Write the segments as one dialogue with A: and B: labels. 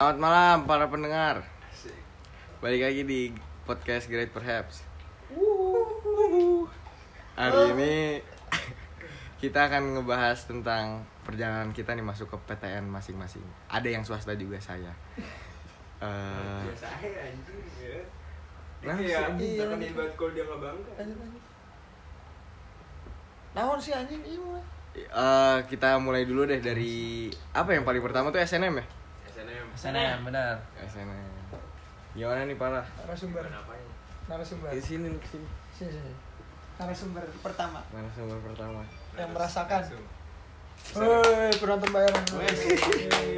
A: Selamat malam para pendengar. Balik lagi di podcast Great Perhaps. Hari ini kita akan ngebahas tentang perjalanan kita nih masuk ke PTN masing-masing. Ada yang swasta juga saya. Eh,
B: biasa aja anjing ya
A: Nah,
B: iya
A: sih,
B: anjing
C: iya,
B: terkenal
C: anjing.
B: banget kalau dia nggak bangga
C: Naon sih anjing ieu mah.
A: eh, kita mulai dulu deh dari apa yang paling pertama tuh SNM ya?
B: SNM
D: Sana benar.
A: SNM. Gimana nih parah?
C: Narasumber,
B: kenapa ya
C: narasumber.
A: Di sini di sini.
C: Sini sini. Narasumber pertama
A: Mana sumber pertama?
C: yang merasakan.
B: Langsung.
C: Hei, penonton bayaran.
D: Wes.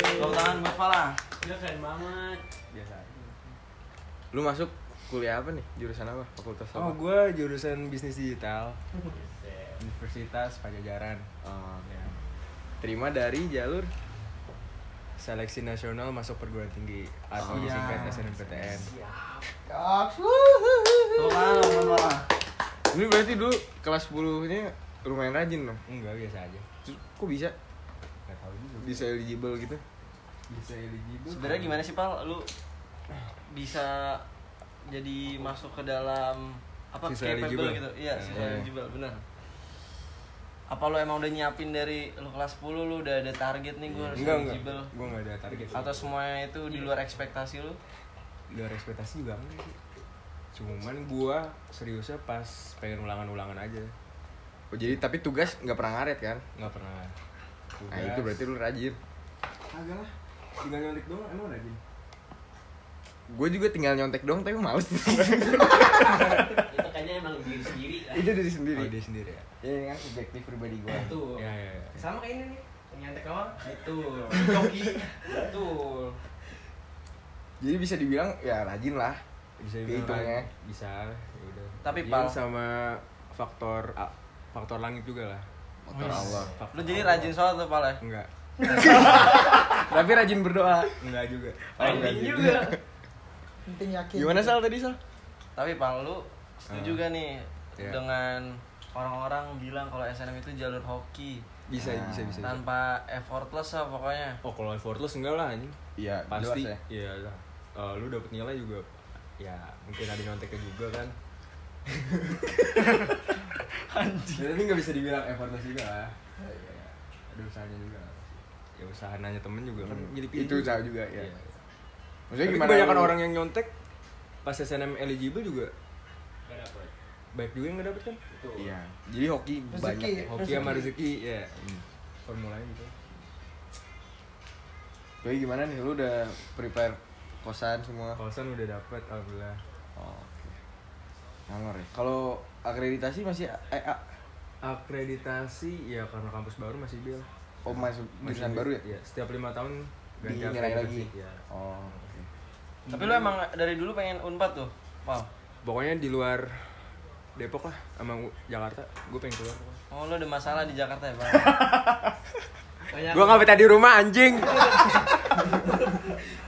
D: Tepuk tangan buat Fala.
B: dia keren banget
A: Biasa. Lu masuk kuliah apa nih? Jurusan apa? Fakultas apa?
E: Oh, gue jurusan bisnis digital Universitas Pajajaran
A: Oh,
B: Iya.
A: Terima dari jalur
E: Seleksi Nasional Masuk Perguruan Tinggi
A: Oh,
E: atau
A: iya.
E: disingkat SNMPTN
B: Iya.
C: Kak.
D: Tepuk tangan buat Fala.
A: Ini berarti dulu kelas 10 nya lumayan rajin dong
E: Enggak, biasa aja
A: Terus kok bisa?
E: Gak tau juga
A: Bisa eligible gitu
E: Bisa eligible
D: Sebenarnya gimana sih, Pal? Lu bisa jadi masuk ke dalam apa
E: Siswa
D: capable
E: eligible.
D: gitu. Iya, siswa
A: Iya.
D: eligible, benar. Apa lu emang udah nyiapin dari lu kelas 10 lu udah ada target nih gue harus
E: Enggak, enggak
D: eligible?
E: Gue gak ada target
D: Atau semuanya itu di luar ekspektasi lu?
E: Luar ekspektasi juga enggak sih Cuman gue seriusnya pas pengen ulangan-ulangan aja
A: Oh jadi tapi tugas nggak pernah ngaret kan?
E: Gak pernah
A: Nah itu berarti lu rajin
E: Agak lah Tinggal nyontek doang, emang rajin?
A: Gue juga tinggal nyontek dong tapi males
B: itu kayaknya emang diri sendiri kan? lah
A: Itu dari
E: Oh,
A: sendiri
E: dia sendiri ya?
A: Ini kan subjektif pribadi gue
B: tuh
E: Ya, ya, ya
B: sama kayak ini nih nyantek doang betul joki betul
A: Jadi bisa dibilang ya rajin lah
E: bisa
A: Kehitung ya.
E: ya bisa ya udah
D: Tapi,
E: Ini
D: Pal.
E: sama faktor a- faktor langit juga lah
A: Motor Allah
E: Faktor
D: Lu jadi
E: Allah.
D: rajin sholat tuh, Pal ya?
E: enggak
A: Tapi rajin berdoa
E: enggak juga
D: Oh, iya
A: Rajin
B: juga
C: Penting yakin.
A: Gimana Sal tadi Sal?
D: Tapi Pang lu setuju gak nih
E: Iya.
D: dengan orang-orang bilang kalau SNM itu jalur hoki
E: bisa
A: Nah.
E: bisa bisa, bisa.
D: tanpa effortless lah pokoknya.
E: oh kalau effortless enggak lah anjing
A: Iya
E: pasti
A: jelas ya.
E: iya lah Eh, lu dapet nilai juga ya mungkin ada nyonteknya juga kan anjing Ya, tapi nggak bisa dibilang effortless juga lah Ya, ya. ada usahanya juga lah. ya usaha nanya temen juga kan
A: Hmm.
E: jadi pilih
A: Itu usaha juga ya
E: Iya.
A: Maksudnya
E: Tapi
A: gimana?
E: kebanyakan
A: lu-
E: orang yang nyontek pas SNM eligible juga
B: gak dapet
E: baik juga yang nggak dapet kan?
B: betul
A: Iya Jadi hoki
C: Rezeki.
A: banyak ya
E: Hoki sama rezeki ya
A: Hmm.
E: formulanya gitu.
A: Jadi gimana nih, lu udah prepare kosan semua?
E: Kosan udah dapet alhamdulillah.
A: Oh, Oke. Ngangor ya. Kalau akreditasi masih eh, ah,
E: Akreditasi ya karena kampus baru masih bil.
A: oh masuk
E: Masih-
A: jurusan baru ya?
E: Iya, setiap lima tahun ganti
A: Dinilai
E: akreditasi,
A: lagi.
E: Iya.
A: Oh, oke.
E: Hmm.
D: Tapi lu emang dari dulu pengen unpad tuh, Pal?
E: Pokoknya di luar Depok lah sama U- Jakarta, gue pengen keluar.
D: Oh lu ada masalah di Jakarta ya, Pal?
B: banyak
E: Gue nggak betah di rumah anjing.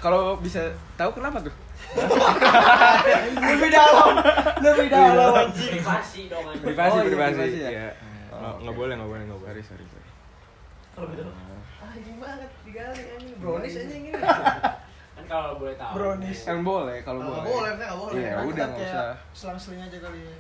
A: Kalau bisa tahu kenapa tuh?
C: Lebih dalam. Lebih dalam anjing.
B: privasi dong anjing
E: Privasi
A: Oh, iya,
E: privasi.
A: privasi ya?
E: Iya.
A: Oh,
E: Nggak-
A: oke.
E: Nggak boleh nggak boleh nggak boleh.
A: Sorry, sorry, sorry.
B: anjing Ah, banget digali anjing
C: Brownies
B: anjing ini kan kalau boleh tahu
C: Brownies.
A: Kan boleh kalau boleh.
C: saya enggak
A: Iya, udah enggak usah.
C: Selang-seling aja kali ya.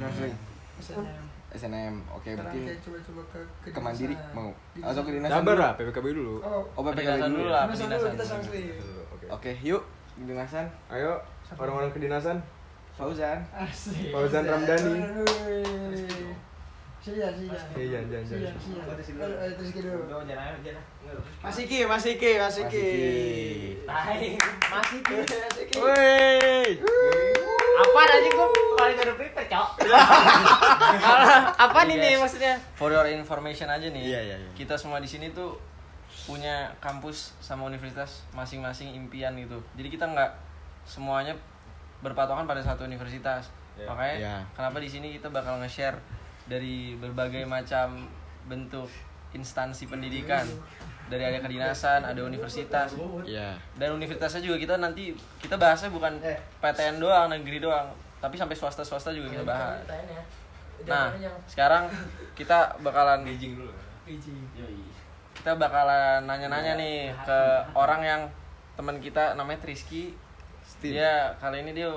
A: Langsung.
C: Misalnya.
A: SNM, oke
C: Sekarang
A: mungkin
C: kayak coba-coba ke ke
A: ke mandiri
C: dinasan.
A: mau
C: Dinasan.
A: atau ke dinas
E: Sabar lah PPKB dulu.
C: Oh.
A: Oh, PPKB
D: Kedinasan
A: dulu
D: dulu
A: ya.
D: lah.
C: Dinasan dulu
D: kedinasan.
C: kita selang-seling.
E: Dulu, Oke.
A: Oke, yuk dinasan.
E: Ayo orang-orang kedinasan.
A: Fauzan.
C: Asik.
E: Fauzan Ramdhani.
C: Sia, sia.
E: Iya, jangan, jangan,
C: Sia,
E: jangan.
C: sia. Eh, eh, terus gitu.
B: Udah, jangan aja lah. Nggak usah.
C: Mas Iki, Mas Iki, Mas
A: Mas
C: Iki.
A: Iki.
B: Tai, masih tuh.
A: Wey.
B: Apa aja gua paling gak ada prepare, Cok.
D: Apa
B: nih nih maksudnya?
D: For your information aja nih.
A: Iya, iya, iya.
D: Kita semua di sini tuh punya kampus sama universitas masing-masing impian gitu. Jadi kita nggak semuanya berpatokan pada satu universitas. Makanya
A: Iya.
D: kenapa di sini kita bakal nge-share dari berbagai macam bentuk instansi pendidikan. Dari ada kedinasan, ada universitas.
A: Iya.
E: Ya.
D: Dan universitasnya juga kita nanti kita bahasnya bukan
C: Eh.
D: PTN doang, negeri doang, tapi sampai swasta-swasta juga kita bahas. Nah, sekarang kita bakalan
E: Beijing dulu.
C: Iji.
D: kita bakalan nanya-nanya nih ke orang yang teman kita namanya Triski
A: Steve.
D: dia kali ini dia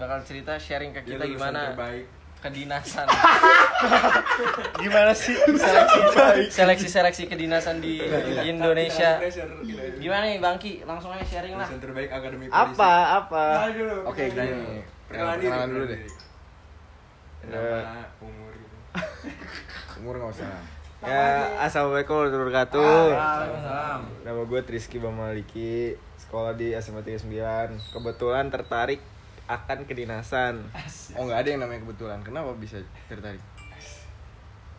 D: bakal cerita sharing ke
E: Dia
D: kita
E: lulusan
D: gimana
E: terbaik
D: kedinasan
F: Gimana sih?
D: seleksi seleksi kedinasan di
E: Iya,
D: Indonesia
E: Pressure, gila.
D: gimana nih Bangki langsung aja sharing lah
E: lulusan terbaik akademi polisi.
F: Apa? Apa?
A: Oke, gini.
E: Iya. Perkenalan Iya. diri,
A: Perkenalan dulu deh.
E: perkenalan diri. Nama, umur gitu.
A: Umur nggak usah.
F: Ya, assalamualaikum warahmatullahi wabarakatuh.
D: Waalaikumsalam.
F: Nama gue Triski Bamaliki, sekolah di SMA 39. Kebetulan tertarik akan kedinasan.
A: Oh nggak ada yang namanya kebetulan. Kenapa bisa tertarik?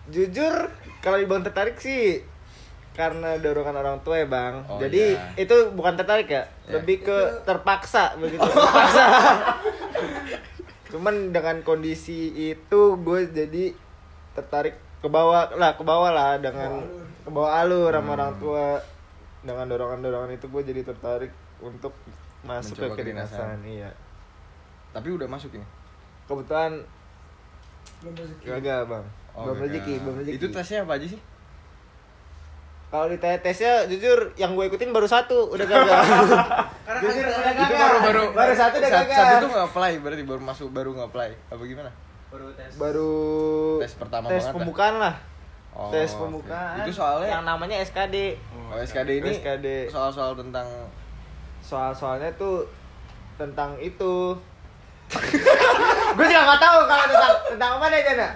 F: Jujur, kalau dibilang tertarik sih karena dorongan orang tua ya bang.
A: Oh,
F: Jadi
A: iya.
F: itu bukan tertarik ya,
A: Ya.
F: lebih ke terpaksa begitu. Terpaksa. Cuman dengan kondisi itu gue jadi tertarik ke bawah lah, ke bawah lah dengan ke bawah alur sama orang tua. Dengan dorongan-dorongan itu gue jadi tertarik untuk masuk
A: Mencoba
F: ke
A: kedinasan.
F: kedinasan. Iya.
A: Tapi udah masuk ini.
F: Kebetulan
C: Belum rezeki.
F: Oh, gagal bang. belum
A: gagal.
F: rezeki, belum rezeki.
A: Oh, Itu tesnya apa aja sih?
F: Kalau ditanya tesnya, jujur yang gue ikutin baru satu, udah gagal.
C: Karena
F: Jujur,
C: kan
F: udah
C: gagal.
F: gagal. baru satu udah
A: Saat-
F: gagal.
A: Saat itu nggak apply berarti baru masuk baru nggak apply. Apa gimana?
B: Baru tes.
F: Baru
A: Tes pertama
F: tes
A: banget, ya?
F: pembukaan lah.
A: Oh,
F: tes
A: oke.
F: pembukaan.
A: Itu soalnya
F: yang namanya SKD.
A: Oh, SKD ini
F: SKD.
A: soal-soal tentang
F: Soal-soalnya tuh tentang itu. gue juga nggak tahu kalau tentang tentang apa deh Jana.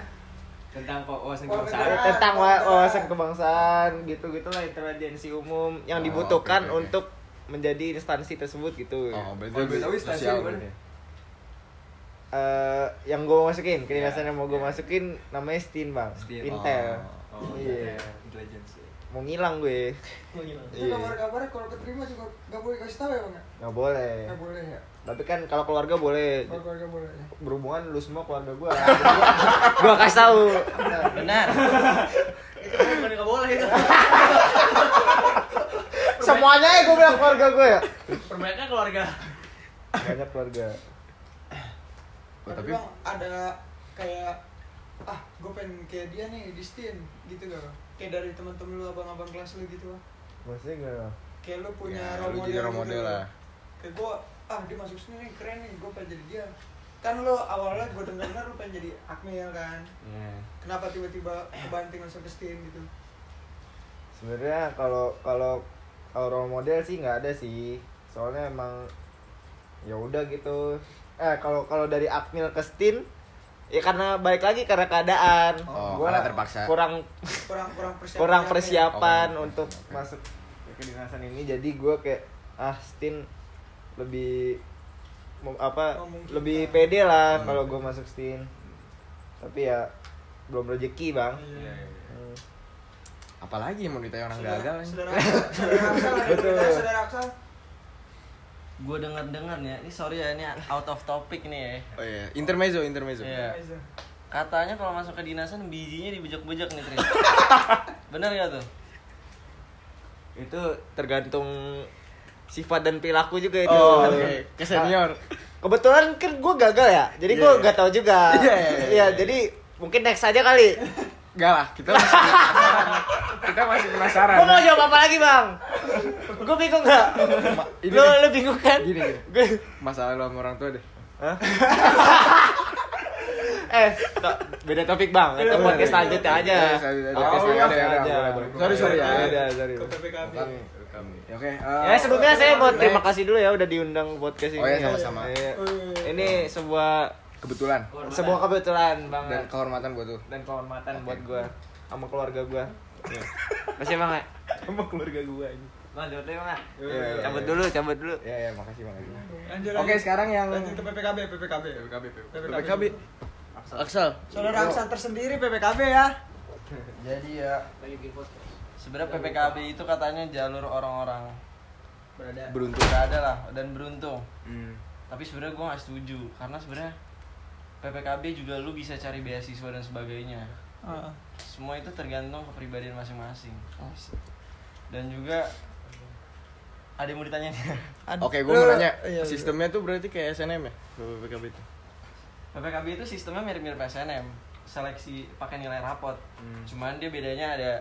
E: Tentang wawasan
C: Oh,
E: kebangsaan.
C: beneran.
F: Tentang wa- wawasan kebangsaan gitu-gitu lah intelijensi umum yang
A: Oh,
F: dibutuhkan
A: oke, oke, oke.
F: untuk menjadi instansi tersebut gitu.
A: Oh, berarti
E: Kalau boleh tahu
A: lebih
E: instansi
A: sosial
E: di mana?
A: gitu ya.
F: eh yang gue
A: Iya,
F: masukin kedinasan yang mau gue masukin namanya Stein bang
E: Stein.
F: Intel
E: Oh,
F: iya
E: intelligence. ya.
F: mau ngilang gue
C: Itu
F: Iya.
C: kabar-kabarnya kalau keterima juga nggak boleh kasih tahu ya bang ya?
A: Iya.
F: nggak boleh
C: Nggak boleh ya.
F: tapi kan kalau keluarga boleh
C: Kalau keluarga boleh. ya.
F: berhubungan lu semua keluarga gue gue kasih tahu
D: benar
B: Itu bukan nggak boleh itu.
F: semuanya ya gue bilang keluarga gue ya
B: Perbanyaknya keluarga.
F: banyak keluarga
A: Oh, tapi
C: Tapi bang ada kayak ah gue pengen kayak dia nih di Steam gitu gak Bang? Kayak dari teman-teman lu abang-abang kelas lu gitu bang.
F: maksudnya gimana
C: Kayak lu punya
A: ya,
C: role
A: lu
C: model.
A: jadi role
C: gitu,
A: model
C: Bang.
A: lah.
C: kayak gue ah dia masuk sini nih keren nih gue pengen jadi dia kan lo awalnya gue denger denger lo pengen jadi Akmil kan
E: Iya.
C: kenapa tiba-tiba kebanting masuk ke Steam gitu
F: sebenarnya kalau kalau kalau role model sih nggak ada sih soalnya emang ya udah gitu eh kalau kalau dari Akmil ke Stin ya karena balik lagi karena keadaan
A: Oh,
F: Gua
A: karena terpaksa.
F: kurang
C: kurang kurang persiapan ya?
F: kurang persiapan
A: Oh,
F: untuk
A: oke.
F: masuk ke kedinasan ini jadi gue kayak ah Stin lebih mem- apa
C: Memungkinkan.
F: lebih pede
A: Oh,
F: lah
A: Hmm.
F: kalau gue masuk Stin tapi ya belum rezeki bang
E: Iya, iya.
F: Hmm.
A: apalagi yang mau ditanya orang gagal.
C: saudara
A: ya?
C: saudara Aksel saudara Aksel ada
F: Betul.
C: cerita saudara Aksel
D: gue dengar dengar ya ini sorry ya ini out of topic nih ya
A: Oh iya, intermezzo, intermezzo.
D: Iya. katanya kalau masuk ke dinasan bijinya dibejek-bejek nih Tris benar ya tuh
F: itu tergantung sifat dan perilaku juga itu
A: Oh,
D: iya.
A: oke. Ke senior.
F: kebetulan kan gue gagal ya jadi
A: Iya,
F: gue
A: iya.
F: nggak tahu juga
A: Iya, iya, iya,
F: Iya,
A: iya.
F: jadi mungkin next aja kali
A: Enggak lah, kita masih penasaran. kita masih penasaran.
F: gue mau jawab apa lagi bang gue bingung
D: Iya.
F: nggak
A: Ma- ini
F: lo
A: deh.
F: lo bingung kan
A: Gini, gini.
F: gue
A: Masalah lu sama orang tua deh.
F: eh to- beda topik bang itu
A: Beda,
F: podcast
A: beda.
F: selanjutnya aja
A: Iya, selanjutnya aja.
F: Oh,
A: Podcast selanjutnya aja.
F: iya, iya.
A: Boleh, boleh. Sorry, sorry ya.
F: Iya, sorry.
C: ke PPKB
A: Bukan.
E: Welcome.
A: Ya, Oke.
F: Ya sebelumnya saya mau terima kasih dulu ya udah diundang podcast ini.
A: Oh, iya,
F: ya.
A: sama-sama.
F: Iya.
C: Oh, iya, iya.
F: Ini sebuah
A: kebetulan
F: sebuah kebetulan
A: dan
F: banget.
A: kehormatan buat lu.
F: dan kehormatan buat gua sama keluarga gua. Masih emang ya?
A: Sama keluarga gua ini.
F: Bang, cabut dulu, Bang.
A: Iya, iya,
F: Cabut
A: iya.
F: dulu, cabut dulu.
A: Ya ya, makasih makasih.
C: lanjut
A: Oke,
C: lanjut.
A: sekarang yang
C: lanjut ke PPKB PPKB
E: PKB, PKB.
A: PKB. Axel.
C: saudara Aksel tersendiri PPKB ya
B: Jadi ya lagi bikin podcast.
D: sebenarnya PPKB itu katanya jalur orang-orang
B: Berada.
A: Beruntung.
D: berada lah dan beruntung
E: Hmm.
D: tapi sebenarnya gue nggak setuju karena sebenarnya PPKB juga lu bisa cari beasiswa dan sebagainya
C: Heeh.
D: semua itu tergantung kepribadian masing-masing dan juga ada yang mau ditanya
C: Aduh.
A: Oke, gua mau
C: Lu-
A: nanya.
C: iya, iya.
A: Sistemnya tuh berarti kayak SNM ya? PKB itu.
D: PPKB itu sistemnya mirip-mirip SNM seleksi pakai nilai rapot
E: Hmm.
D: cuman dia bedanya ada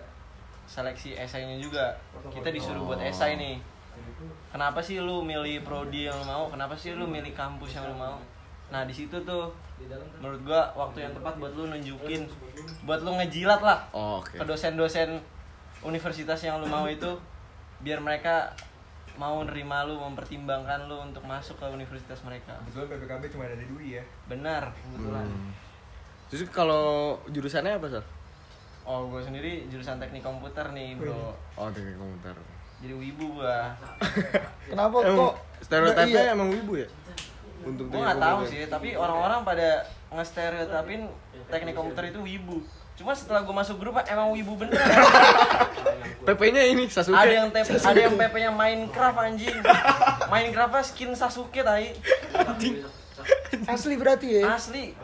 D: seleksi esainya juga kita disuruh buat esai nih kenapa sih lu milih prodi yang lu mau kenapa sih lu milih kampus yang lu mau nah di situ tuh menurut gua waktu yang tepat buat lu nunjukin buat lu ngejilat lah
A: Oh, oke.
D: ke dosen-dosen universitas yang lu mau itu biar mereka mau nerima lu mempertimbangkan lu untuk masuk ke universitas mereka
E: Kebetulan PPKB cuma ada di Dwi ya.
D: benar kebetulan
A: Hmm. Terus kalau jurusannya apa, Sal?
D: oh gue sendiri jurusan teknik komputer nih bro
A: Oh, teknik komputer.
D: jadi wibu gua
F: Kenapa
A: Emang
F: kok?
A: stereotipnya
F: Iya.
A: emang wibu ya? Untuk
D: gue
A: teknik
D: nggak tahu
A: komputer.
D: sih tapi orang-orang pada ngestereotipin teknik komputer itu wibu cuma setelah gue masuk grup emang wibu bener
A: PP-nya ini Sasuke.
D: ada yang tep, ada yang pp nya Minecraft anjing Minecraft skin Sasuke tai
C: Asli berarti ya.
D: asli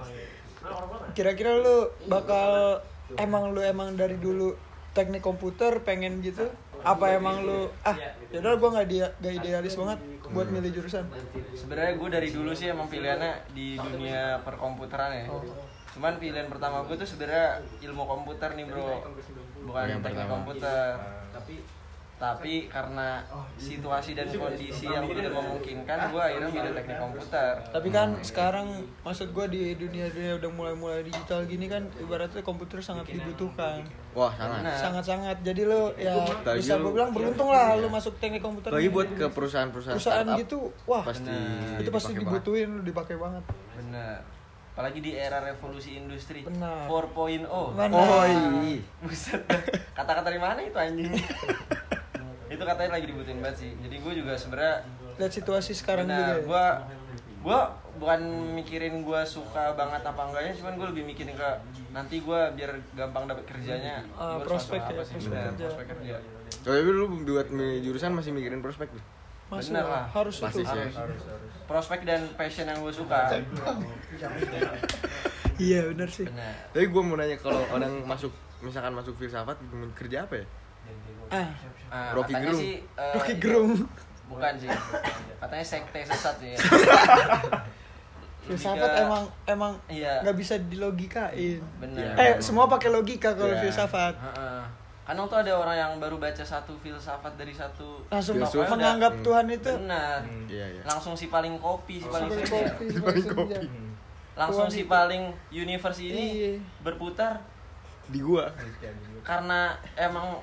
C: Kira-kira lu bakal emang lu emang dari dulu teknik komputer pengen gitu? Apa emang lu ah yaudah gua nggak dia gak idealis banget buat milih jurusan?
D: sebenarnya gue dari dulu sih emang pilihannya di dunia perkomputeran ya cuman pilihan pertama gue tuh sebenarnya ilmu komputer nih bro bukan
A: Yang
D: teknik
A: pertama.
D: komputer
B: Tapi
D: tapi karena situasi dan kondisi yang tidak memungkinkan gue akhirnya milih teknik komputer
C: Tapi kan sekarang maksud gua di dunia dunia udah mulai-mulai digital gini kan ibaratnya komputer sangat dibutuhkan.
A: Wah, sangat.
D: Nah.
C: Sangat-sangat. Jadi lu ya
A: Tadi
C: bisa
A: lu-
C: gua bilang beruntung lah
A: Iya.
C: lu masuk teknik komputer.
A: Lagi
C: ini.
A: buat ke perusahaan-perusahaan
C: perusahaan
A: startup,
C: gitu, wah
A: pasti
C: itu pasti
A: dipakai banget.
C: dibutuhin lu dipakai banget.
D: bener apalagi di era revolusi industri
C: Benar.
D: 4.0
C: Mana?
A: Oh, iya.
D: buset kata-kata dari mana itu anjing itu katanya lagi dibutuhin banget sih jadi gue juga sebenarnya
C: Lihat situasi sekarang
D: Benar,
C: juga. ya.
D: gua gua bukan mikirin gua suka banget apa enggaknya, cuman gua lebih mikirin ke nanti gua biar gampang dapet kerjanya.
C: Ah,
D: gua harus
C: prospek
D: masuk
C: ya,
D: apa sih?
C: prospek
D: Benar,
C: kerja.
D: prospek kerja.
A: Tapi lu buat milih jurusan masih mikirin prospek tuh.
C: Masih
D: Bener
C: lah,
D: lah.
C: harus
A: Pasti
C: itu.
A: sih. ya.
D: Prospek dan passion yang gua suka.
C: Iya benar sih.
D: Benar.
A: Tapi gue mau nanya kalau orang masuk misalkan masuk filsafat mau kerja apa ya?
C: Ah,
D: Ah,
A: Rocky
D: katanya
A: Gerung.
D: sih eh,
C: Rocky
D: itu-
C: Gerung.
D: Bukan sih. Katanya sekte sesat sih.
C: Filsafat emang emang
D: iya.
C: nggak bisa dilogikain.
D: Benar.
A: Iya.
C: Eh semua pakai logika kalau
A: Iya.
C: filsafat.
D: Heeh. Kan waktu ada orang yang baru baca satu filsafat dari satu
C: Langsung
A: Filsuf.
D: novel udah-
C: menganggap
A: Hmm.
C: Tuhan itu
D: Benar.
A: Iya iya.
D: Langsung si paling kopi, si paling
C: sebagai
D: senja.
C: Oh, kopi, sebagai senja.
D: langsung
C: Tuhan
D: si
C: itu.
D: paling universe ini
C: Iya.
D: berputar
A: Di gua.
D: karena emang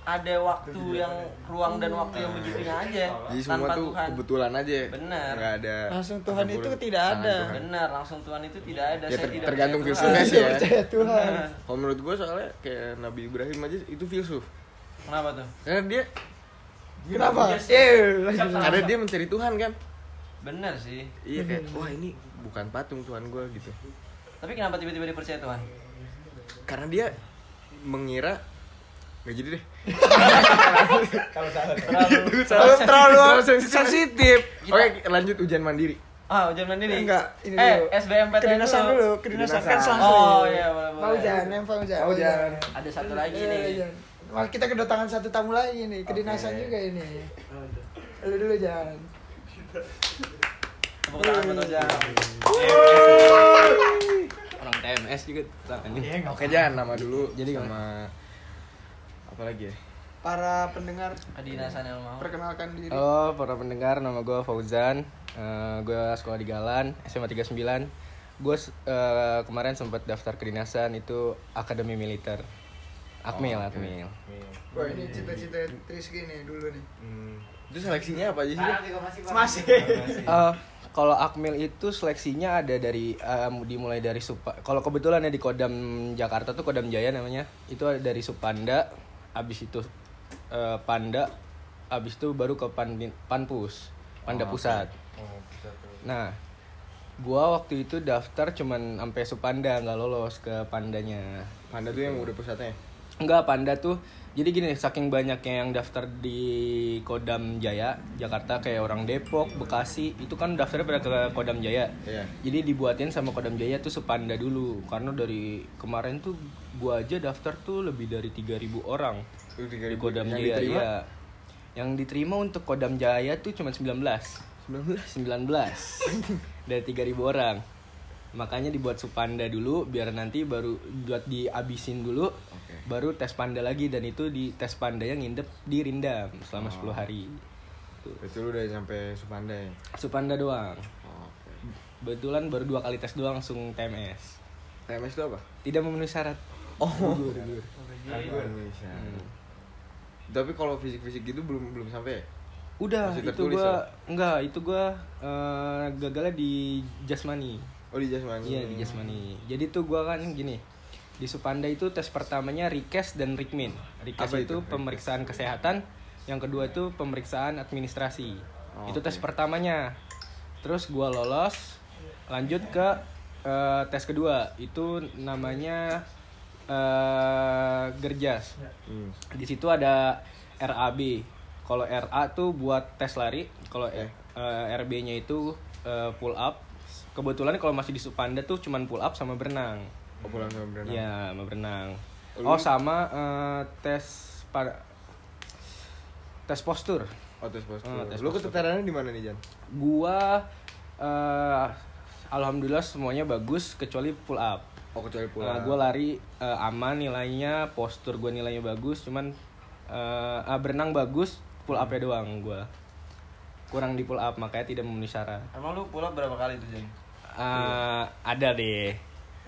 D: ada waktu yang ruang
C: Hmm.
D: dan waktu yang begitunya aja
A: Nah, iya. Jadi semua
D: tanpa
A: tuh
D: Tuhan
A: kebetulan aja.
D: Benar.
A: Nggak ada.
C: Langsung Tuhan itu
A: campur
C: tidak
A: tangan
C: ada.
A: Tuhan.
D: benar langsung Tuhan itu tidak ada
A: Ya,
D: saya
A: ter-
D: tidak
A: tergantung
D: percaya
A: filsufnya
D: Tuhan.
A: sih ya.
C: Percaya Tuhan.
D: Benar.
A: Kalau menurut gua soalnya kayak Nabi Ibrahim aja itu filsuf.
D: kenapa tuh
A: Karena dia
C: Kenapa?
B: Yes.
C: Eh, lagi-
A: karena dia mencari Tuhan kan.
D: benar sih
A: Iya
C: Hmm.
A: kayak wah ini bukan patung Tuhan gua gitu.
D: tapi kenapa tiba-tiba dipercaya Tuhan
A: Karena dia mengira nggak jadi deh.
D: terlalu
A: Terlalu terlalu
C: sensitif.
A: Oke, lanjut ujian mandiri.
D: ah jam mandiri
C: Enggak, ini
D: eh
C: dulu.
D: SBMPTN
C: kedinasan dulu, kedinasan kan
E: Kedinasan.
C: langsung.
D: Oh, iya, boleh,
C: Mau
D: boleh.
C: jangan, em, mau jangan.
E: Mau jangan.
D: ada satu lagi
C: Iya,
D: nih
C: iya. Wah, kita kedatangan satu tamu lagi nih, kedinasan
E: Oke.
C: juga ini. Lu dulu jangan.
D: tepuk tangan buat
C: Iya.
D: Ojang.
E: Orang TMS juga
C: Iya,
E: tangannya.
A: Oke, jangan nama dulu. Jadi sama apa lagi ya?
C: Para pendengar
D: kedinasan yang mau
C: perkenalkan diri.
E: Halo para pendengar, nama gue Fauzan. gue sekolah di Galan, SMA 39. Gue eh, kemarin sempat daftar kedinasan itu Akademi Militer. Akmil, Akmil.
C: Wah, ini cita-cita Trisky nih dulu nih.
A: Itu seleksinya apa aja sih?
C: Ah.
A: Bang?
C: Masih.
E: Eh, kalau Akmil itu seleksinya ada dari eh, dimulai dari Supa. Kalau kebetulan ya di Kodam Jakarta tuh Kodam Jaya namanya. Itu ada dari Supanda, abis itu eh, Panda, abis itu baru ke Pandin- Panpus, Panda Pusat. Nah, gua waktu itu daftar cuman sampai Supanda nggak lolos ke Pandanya.
A: Panda tuh yang udah pusatnya. ya?
E: Enggak, Panda tuh jadi gini saking banyaknya yang daftar di Kodam Jaya Jakarta kayak orang Depok, Bekasi itu kan daftarnya pada ke Kodam Jaya.
A: Iya.
E: Jadi dibuatin sama Kodam Jaya tuh sepanda dulu karena dari kemarin tuh gua aja daftar tuh lebih dari 3000 orang
A: Itu tiga
E: di
A: ribu
E: Kodam
A: yang
E: Jaya.
A: diterima.
E: iya. Yang diterima untuk Kodam Jaya tuh cuma 19. 19. 19. dari 3000 orang. Makanya dibuat supanda dulu biar nanti baru buat diabisin dulu.
A: Oke. Oh.
E: Baru tes panda lagi dan itu di tes pandanya ngindep di Rindam selama 10 hari.
G: gitu
A: Berarti lu udah nyampe Supanda ya?
G: Supanda doang
A: Oh, Oke.
G: kebetulan baru dua kali tes doang langsung TMS
A: TMS itu apa?
G: tidak memenuhi syarat
C: Oh,
A: Indonesia.
G: Hmm.
A: Tapi kalau fisik-fisik gitu belum belum sampai ya?
G: udah
A: Masih
G: itu
A: tertulis ya?
G: gua enggak itu gua eh, gagalnya di jasmani
A: Oh di jasmani.
G: iya di jasmani jadi tuh gua kan gini di Supanda itu tes pertamanya Rikes dan Rikmin. Rikes
A: Apa itu?
G: itu, pemeriksaan kesehatan, yang kedua itu pemeriksaan administrasi.
A: Oh,
G: itu tes
A: oke.
G: pertamanya. Terus gua lolos, lanjut ke eh, tes kedua. Itu namanya eh Gerjas.
A: Hmm.
G: Di situ ada RAB. Kalau RA tuh buat tes lari, kalau
A: Oke.
G: eh, RB-nya itu eh, pull up. Kebetulan kalau masih di Supanda tuh cuman pull up sama berenang.
A: Oh, pulang sama berenang.
G: Iya, sama berenang.
A: Lu-
G: Oh, sama eh, tes para tes postur.
A: Oh tes postur.
G: Oh, tes
A: lu
G: postur.
A: keteterannya di mana nih Jan?
G: Gua eh, alhamdulillah semuanya bagus kecuali pull up.
A: Oh kecuali
G: Gue
E: Ah,
A: pulang.
G: gua lari eh, aman nilainya, postur gua nilainya bagus, cuman eh, ah, berenang bagus, pull up doang gua. Kurang di pull up makanya tidak memenuhi syarat.
F: Emang lu pull up berapa kali tuh, Jan?
G: Eh, ada deh.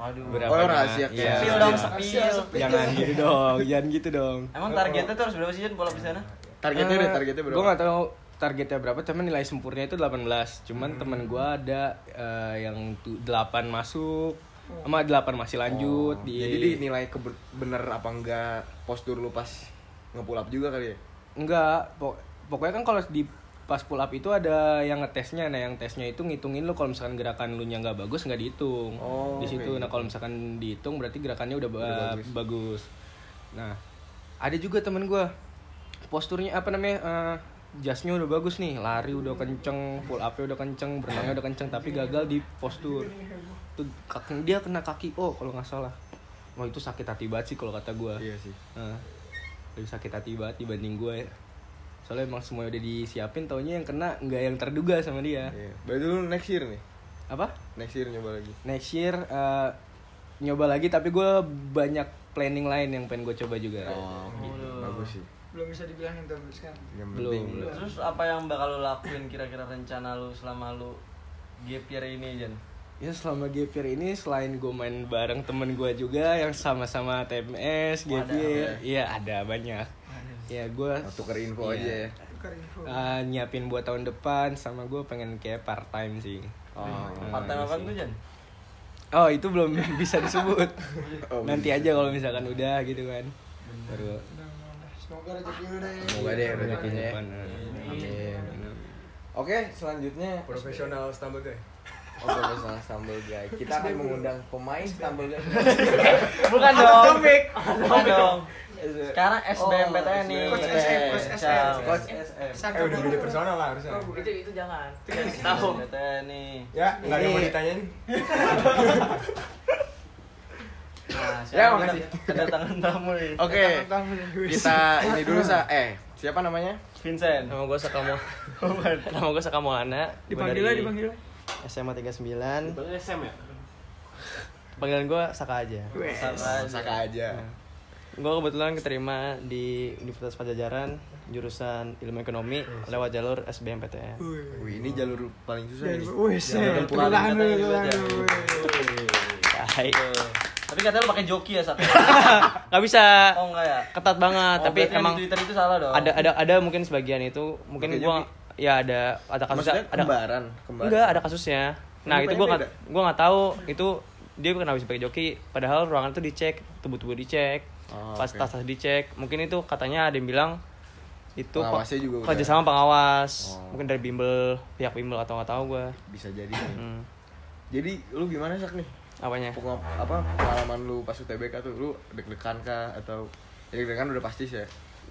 F: Waduh.
G: Berapa?
A: Oh, rahasia
G: Iya.
A: kayak-
F: Spill dong, spill.
G: Jangan gitu dong, jangan gitu dong.
F: Emang targetnya tuh harus berapa sih, Jan, pull up di sana?
A: Targetnya
G: Ah,
A: deh, targetnya berapa?
G: Gue gak tau targetnya berapa, cuman nilai sempurnanya itu 18 Cuman
A: Hmm.
G: temen gue ada eh, yang tu- 8 masuk Sama 8 masih lanjut
A: Oh,
G: di,
A: Jadi dinilai keber- bener apa enggak postur lu pas ngepulap juga kali ya?
G: Enggak, pok- pokoknya kan kalau di pas pull up itu ada yang ngetesnya Nah yang tesnya itu ngitungin lu kalau misalkan gerakan lu nya nggak bagus nggak dihitung
A: Oh,
G: di situ
A: oke.
G: Nah kalau misalkan dihitung berarti gerakannya udah, ba-
A: Udah bagus.
G: bagus. Nah ada juga temen gue posturnya apa namanya eh, jasnya udah bagus nih lari udah kenceng pull upnya udah kenceng berenangnya udah kenceng tapi gagal di postur tuh kaki dia kena kaki oh kalau nggak salah wah itu sakit hati banget sih kalau kata gue
A: Iya sih.
G: Nah, lebih sakit hati banget dibanding gue ya. Soalnya emang semuanya udah disiapin, taunya yang kena nggak yang terduga sama dia.
A: Iya. Berarti lu next year nih.
G: Apa?
A: Next year nyoba lagi.
G: Next year eh, nyoba lagi, tapi gue banyak planning lain yang pengen gue coba juga.
A: gitu. Bagus sih.
C: belum bisa dibilangin tuh kan? sampai sekarang.
A: Yang
G: Belum,
A: penting
G: belum.
F: Terus apa yang bakal lu lakuin kira-kira rencana lu selama lu gap year ini, Jan?
D: Nah,
G: Ya selama gap year ini selain gue main bareng temen gue juga yang sama-sama TMS,
A: Oh,
G: gap
F: Ada,
A: ya?
G: year, iya ada banyak. Ya gue
A: tuker info
G: Iya.
A: aja ya.
C: Tukar info.
D: Ah.
G: eh, nyiapin buat tahun depan sama gue pengen kayak part time sih.
A: Oh,
G: iya.
F: Part
D: iya
F: time apa tuh, Jan?
G: Oh itu belum bisa disebut.
A: Oh, belum
G: Nanti aja kalau misalkan udah gitu kan. Baru
C: Udah, udah, udah. Nah, Semoga rezeki lu deh.
A: Semoga deh
G: ke
A: rezekinya. ya.
G: depan.
A: Amin. Oke, selanjutnya
E: Profesional stumble guy.
A: Oh, profesional stumble guy. Kita akan mengundang pemain stumble guy.
E: Eh,
F: Bukan dong. Bukan dong. Sekarang SBMPTN
A: Oh,
F: nih.
A: Coach
C: SM, Coach SM.
A: Coach
F: SM.
E: Eh udah jadi personal lah harusnya.
B: Oh,
H: itu itu jangan
F: Tahu. SBMPTN nih.
E: Ya, enggak ada yang mau
A: Ini-
E: ditanyain.
F: Nah,
A: Ya,
F: sekarang
A: makasih.
F: kita kedatangan tamu nih.
A: Oke. Kita ini dulu sa eh siapa namanya?
F: Vincent.
D: Nama
F: Oh,
D: gue Sakamo. Nama gue Sakamolana.
C: Dipanggil lah, dipanggil lah.
D: SMA 39. Dipanggil SM ya? Panggilan gue Saka aja.
F: Sama aja.
A: Saka aja.
C: Iya.
D: Gue kebetulan keterima di Universitas Pajajaran jurusan Ilmu Ekonomi lewat jalur SBMPTN.
A: Wih, ini jalur paling susah ini.
C: Wih,
A: Jangan
C: set.
A: pulang,
C: Tulang lu,
F: katanya gitu
C: tulang
F: aja.
C: lu.
D: Tai.
F: Tuh. Tapi katanya lu pakai joki ya, Sak.
D: Gak bisa
F: Oh, enggak ya?
D: ketat banget,
F: Oh,
D: Ah, tapi
F: berarti yang
D: emang
F: di Twitter itu salah dong.
D: ada ada ada mungkin sebagian itu mungkin
A: Oke,
D: gue
A: Yogi.
D: ya ada ada
A: Maksudnya
D: kasusnya ada
A: kembaran, kembaran.
D: enggak ada kasusnya
A: Lu
D: nah itu
A: pengen
D: gua
A: beda?
D: nggak gua nggak tahu itu dia kenapa bisa pakai joki padahal ruangan itu dicek tubuh-tubuh dicek
A: Oh,
D: pas
A: oke.
D: tas-tas dicek mungkin itu katanya ada yang bilang itu pe-
A: Pengawasnya juga udah-
D: kerjasama pengawas
A: Oh.
D: mungkin dari bimbel pihak bimbel atau nggak tahu gua
A: Bisa jadi. nih.
D: hmm.
A: Jadi lu gimana sak nih?
D: apanya
A: Pengap- apa pengalaman lu pas UTBK tuh lu deg-degan kah atau ya, deg-degan udah pasti sih ya.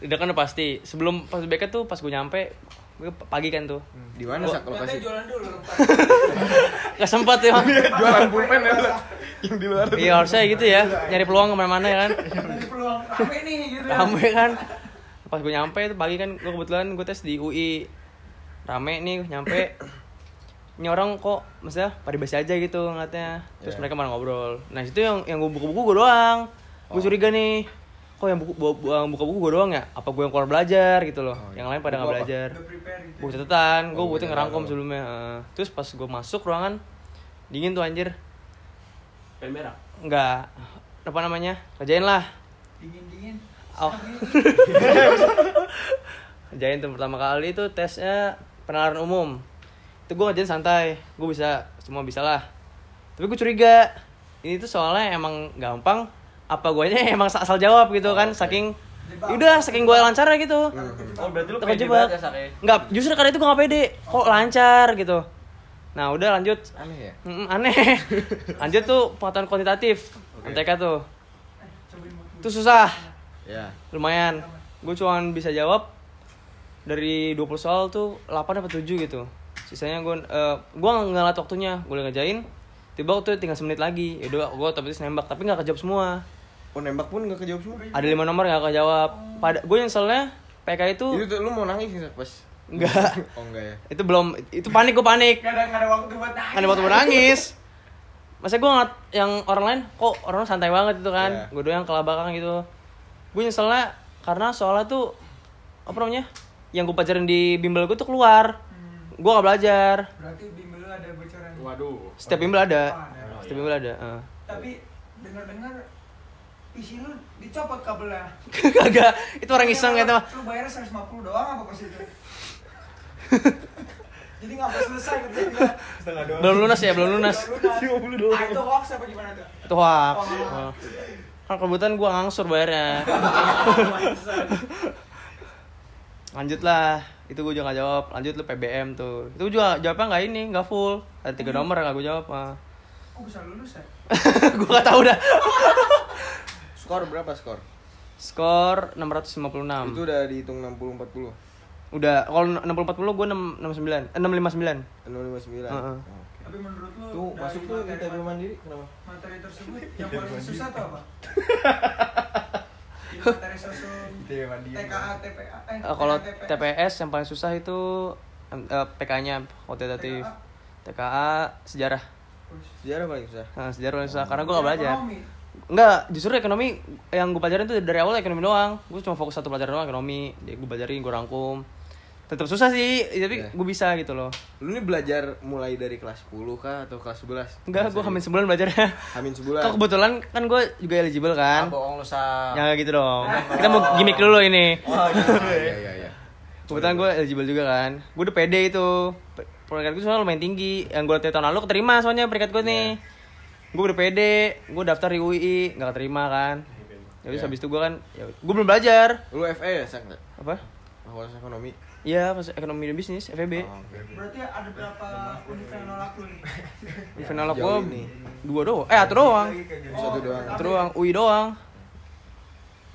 D: udah kan udah pasti sebelum pas BK tuh pas gua nyampe gua pagi kan tuh
A: Di mana sak
C: Katanya
A: lokasi?
C: jualan dulu.
D: nggak sempat ya
A: Iya, Jualan pulpen ya. Sak? Yang di luar.
D: iya harusnya gitu ya nyari peluang kemana-mana ya kan
C: Nanti peluang rame nih gitu.
D: rame kan pas gue nyampe itu pagi kan gue kebetulan gue tes di UI rame nih nyampe ini orang kok maksudnya pada biasa aja gitu ngeliatnya
A: Iya. Oh.
D: terus mereka malah ngobrol nah itu yang yang gue buku-buku gue doang gue curiga nih kok yang buku bu- bu- yang buka buku gue doang ya apa gue yang keluar belajar gitu loh
A: Oh, iya.
D: yang lain
A: Buku
D: pada nggak
A: apa?
D: belajar
C: udah prepare gitu
D: buku catatan gue
A: Oh,
D: butuh
A: iya,
D: ngerangkum
A: iya.
D: sebelumnya eh. terus pas gue masuk ruangan dingin tuh anjir
I: Pen merah.
D: nggak apa namanya kerjain lah
C: dingin dingin
D: Oh. Kerjain tuh pertama kali itu tesnya penalaran umum. Itu gue ngerjain santai, gue bisa semua bisa lah. Tapi gue curiga. Ini tuh soalnya emang gampang apa guanya emang asal jawab gitu kan saking udah saking gue lancar aja gitu.
F: Oh berarti lu
D: Terjebak.
F: pede banget ya Sake?
D: Enggak, justru karena itu gue gak pede. Kok lancar gitu. Nah, udah lanjut.
A: aneh ya
D: Mm, aneh. Lanjut tuh penguatan kuantitatif. MTK tuh. Itu susah
A: ya
D: lumayan gue cuman bisa jawab dari 20 soal tuh 8 apa 7 gitu sisanya gue eh gue nggak ngeliat waktunya gue udah ngerjain tiba waktu tinggal semenit lagi ya udah gue otomatis nembak tapi nggak kejawab semua
A: oh nembak pun nggak kejawab semua
D: ada lima nomor nggak kejawab pada gue nyeselnya PK itu
A: itu tuh lu mau nangis nggak pas
D: nggak
A: oh enggak ya
D: itu belum itu panik gue panik
J: Gak ada, gak ada waktu buat nangis.
D: kan waktu gue nangis masa gue ngeliat yang orang lain kok orang santai banget itu kan
A: Iya.
D: gue doang kelabakan gitu gue nyeselnya karena soalnya tuh apa namanya yang gue pelajarin di bimbel gue tuh keluar gue gak belajar
C: berarti bimbel lu ada bocoran
I: Waduh.
D: setiap bimbel ada
C: Ah, ada.
D: setiap bimbel ada eh.
C: tapi dengar dengar PC lu dicopot kabelnya
D: kagak itu orang iseng gitu mah
C: lu bayarnya 150 doang apa pas itu jadi nggak pas selesai gitu, kerjanya
D: belum lunas ya belum lunas
C: ah, itu hoax apa gimana tuh
D: tuh hoax. Oh. kan kebetulan gue ngangsur bayarnya lanjut lah itu gue juga gak jawab lanjut lu PBM tuh itu juga jawabnya nggak ini nggak full ada tiga nomor yang gak gue jawab ah.
C: kok bisa lulus ya
D: gue gak tahu dah
A: skor berapa skor
D: skor
A: itu
D: 656
A: udah dihitung 60 40
D: udah kalau 60 40 gue 669 eh,
A: 659
D: 659 Heeh.
A: Oke.
C: tapi menurut lu
A: tuh
C: dari
A: masuk tuh
C: materi-
A: ITB mandiri kenapa
C: materi tersebut yang paling susah tuh apa Di materi sosum TKA TPA eh
D: Eh, kalau
C: TKA,
D: TPS yang paling susah itu eh, PK-nya kuantitatif TKA sejarah
A: sejarah paling susah
D: Nah, sejarah paling susah karena gue gak belajar
C: Ekonomi.
D: Enggak, justru ekonomi yang gue pelajarin tuh dari awal ekonomi doang. Gue cuma fokus satu pelajaran doang ekonomi. Jadi gue pelajarin, gue rangkum. Tetap susah sih, tapi
A: Iya.
D: gue bisa gitu loh.
A: lu ini belajar mulai dari kelas 10 kah atau kelas 11
D: Enggak, gue hamin sebulan belajarnya.
A: hamin sebulan
D: Kok kebetulan kan gue juga eligible
F: Ah
D: kan?
F: bohong lu Sak.
D: Ya gitu dong.
A: Ah.
D: Kita mau gimmick dulu ini.
A: iya iya iya
D: Kebetulan gue eligible juga kan. Gue udah pede itu. Pe- Peringkat gue soalnya lumayan tinggi. Yang gue liat tahun lalu keterima soalnya peringkat gue nih.
A: Iya.
D: Gue udah pede. Gue daftar di UI, nggak keterima kan. Jadi
A: Iya.
D: habis itu gue kan, gue belum belajar.
A: lu FE ya sang nggak
D: Apa?
A: fakultas ekonomi
D: Iya, pas ekonomi dan bisnis, FEB.
A: Oh, oke.
C: berarti ada berapa univ yang nolak lu nih
D: Di final
A: Sejauh
D: gua
A: ini. gitu.
D: dua doang. Eh, satu doang.
A: satu doang
D: Satu doang, UI doang.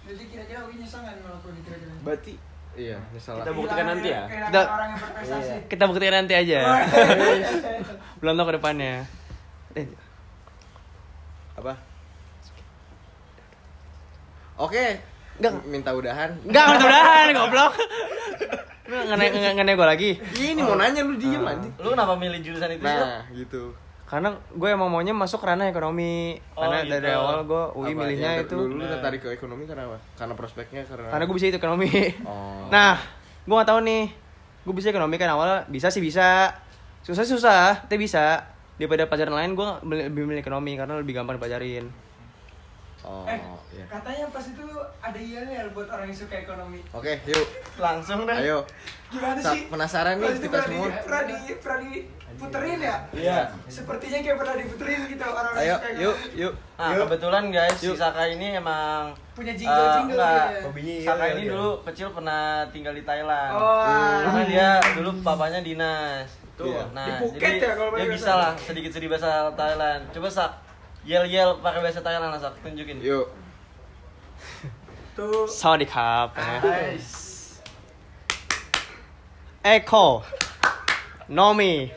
C: jadi kira-kira gue nyesel nggak nolak lu nih kira-kira
A: berarti iya nyesal
I: Kita buktikan nanti ya.
C: Kehilangan
D: Kita-
C: orang yang berprestasi
A: Iya.
D: Kita buktiin nanti aja. Belum tahu ke depannya. Eh,
A: apa oke
D: Nggak.
A: M- minta udahan
D: Enggak, mudah-mudahan goblok. Lu ngenai ngenai gua lagi. Ah.
A: Ih, ini mau nanya lu diem anjing
F: Lu kenapa milih jurusan itu sih?
A: nah gitu
D: Karena gue emang maunya masuk ranah ekonomi.
F: Oh,
D: Karena
F: gitu.
D: dari awal gue UI
A: Apa,
D: milihnya
A: yang ter-
D: itu Nah.
A: lu, lu tertarik ke ekonomi karena apa karena prospeknya karena
D: karena gue bisa itu ekonomi.
A: oh.
D: Nah, gue gak tahu nih. Gue bisa ekonomi kan awalnya bisa sih bisa. Susah sih susah, tapi bisa. Daripada pelajaran lain gue lebih milih ekonomi karena lebih gampang dipelajarin.
A: oh
C: Eh,
A: iya
C: katanya pas itu lu ada yel-yel buat orang yang suka ekonomi
A: oke yuk
F: Langsung
D: Nah.
F: dah.
A: ayo
C: gimana
A: Sa-
C: sih
A: penasaran
C: Pas
A: nih
C: itu
A: kita
C: pernah
A: semua
C: di, pernah di, pernah diputerin ya?
A: iya
C: Sepertinya kayak pernah diputerin gitu orang
A: ayo
C: suka
A: yuk yuk
F: Nah, kebetulan guys, si Saka ini emang
C: Punya
A: Ah,
C: jingle-jingle
F: Eh, enggak.
C: dia.
K: Hobinya iya,
F: Saka
K: iya,
F: ini
K: iya.
F: dulu kecil pernah tinggal di Thailand.
C: Oh,
F: Karena dia dulu bapaknya dinas. Tuh.
A: Iya.
F: Nah,
C: Di Phuket
F: jadi
C: ya kalau
F: dia
C: pakai
F: bisa
C: bahasa.
F: lah sedikit sedikit bahasa Thailand. Coba Sak, yel yel pakai bahasa Thailand lah Sak, tunjukin.
A: yuk
C: tuh
D: Sawadee cup. Eko. Nomi.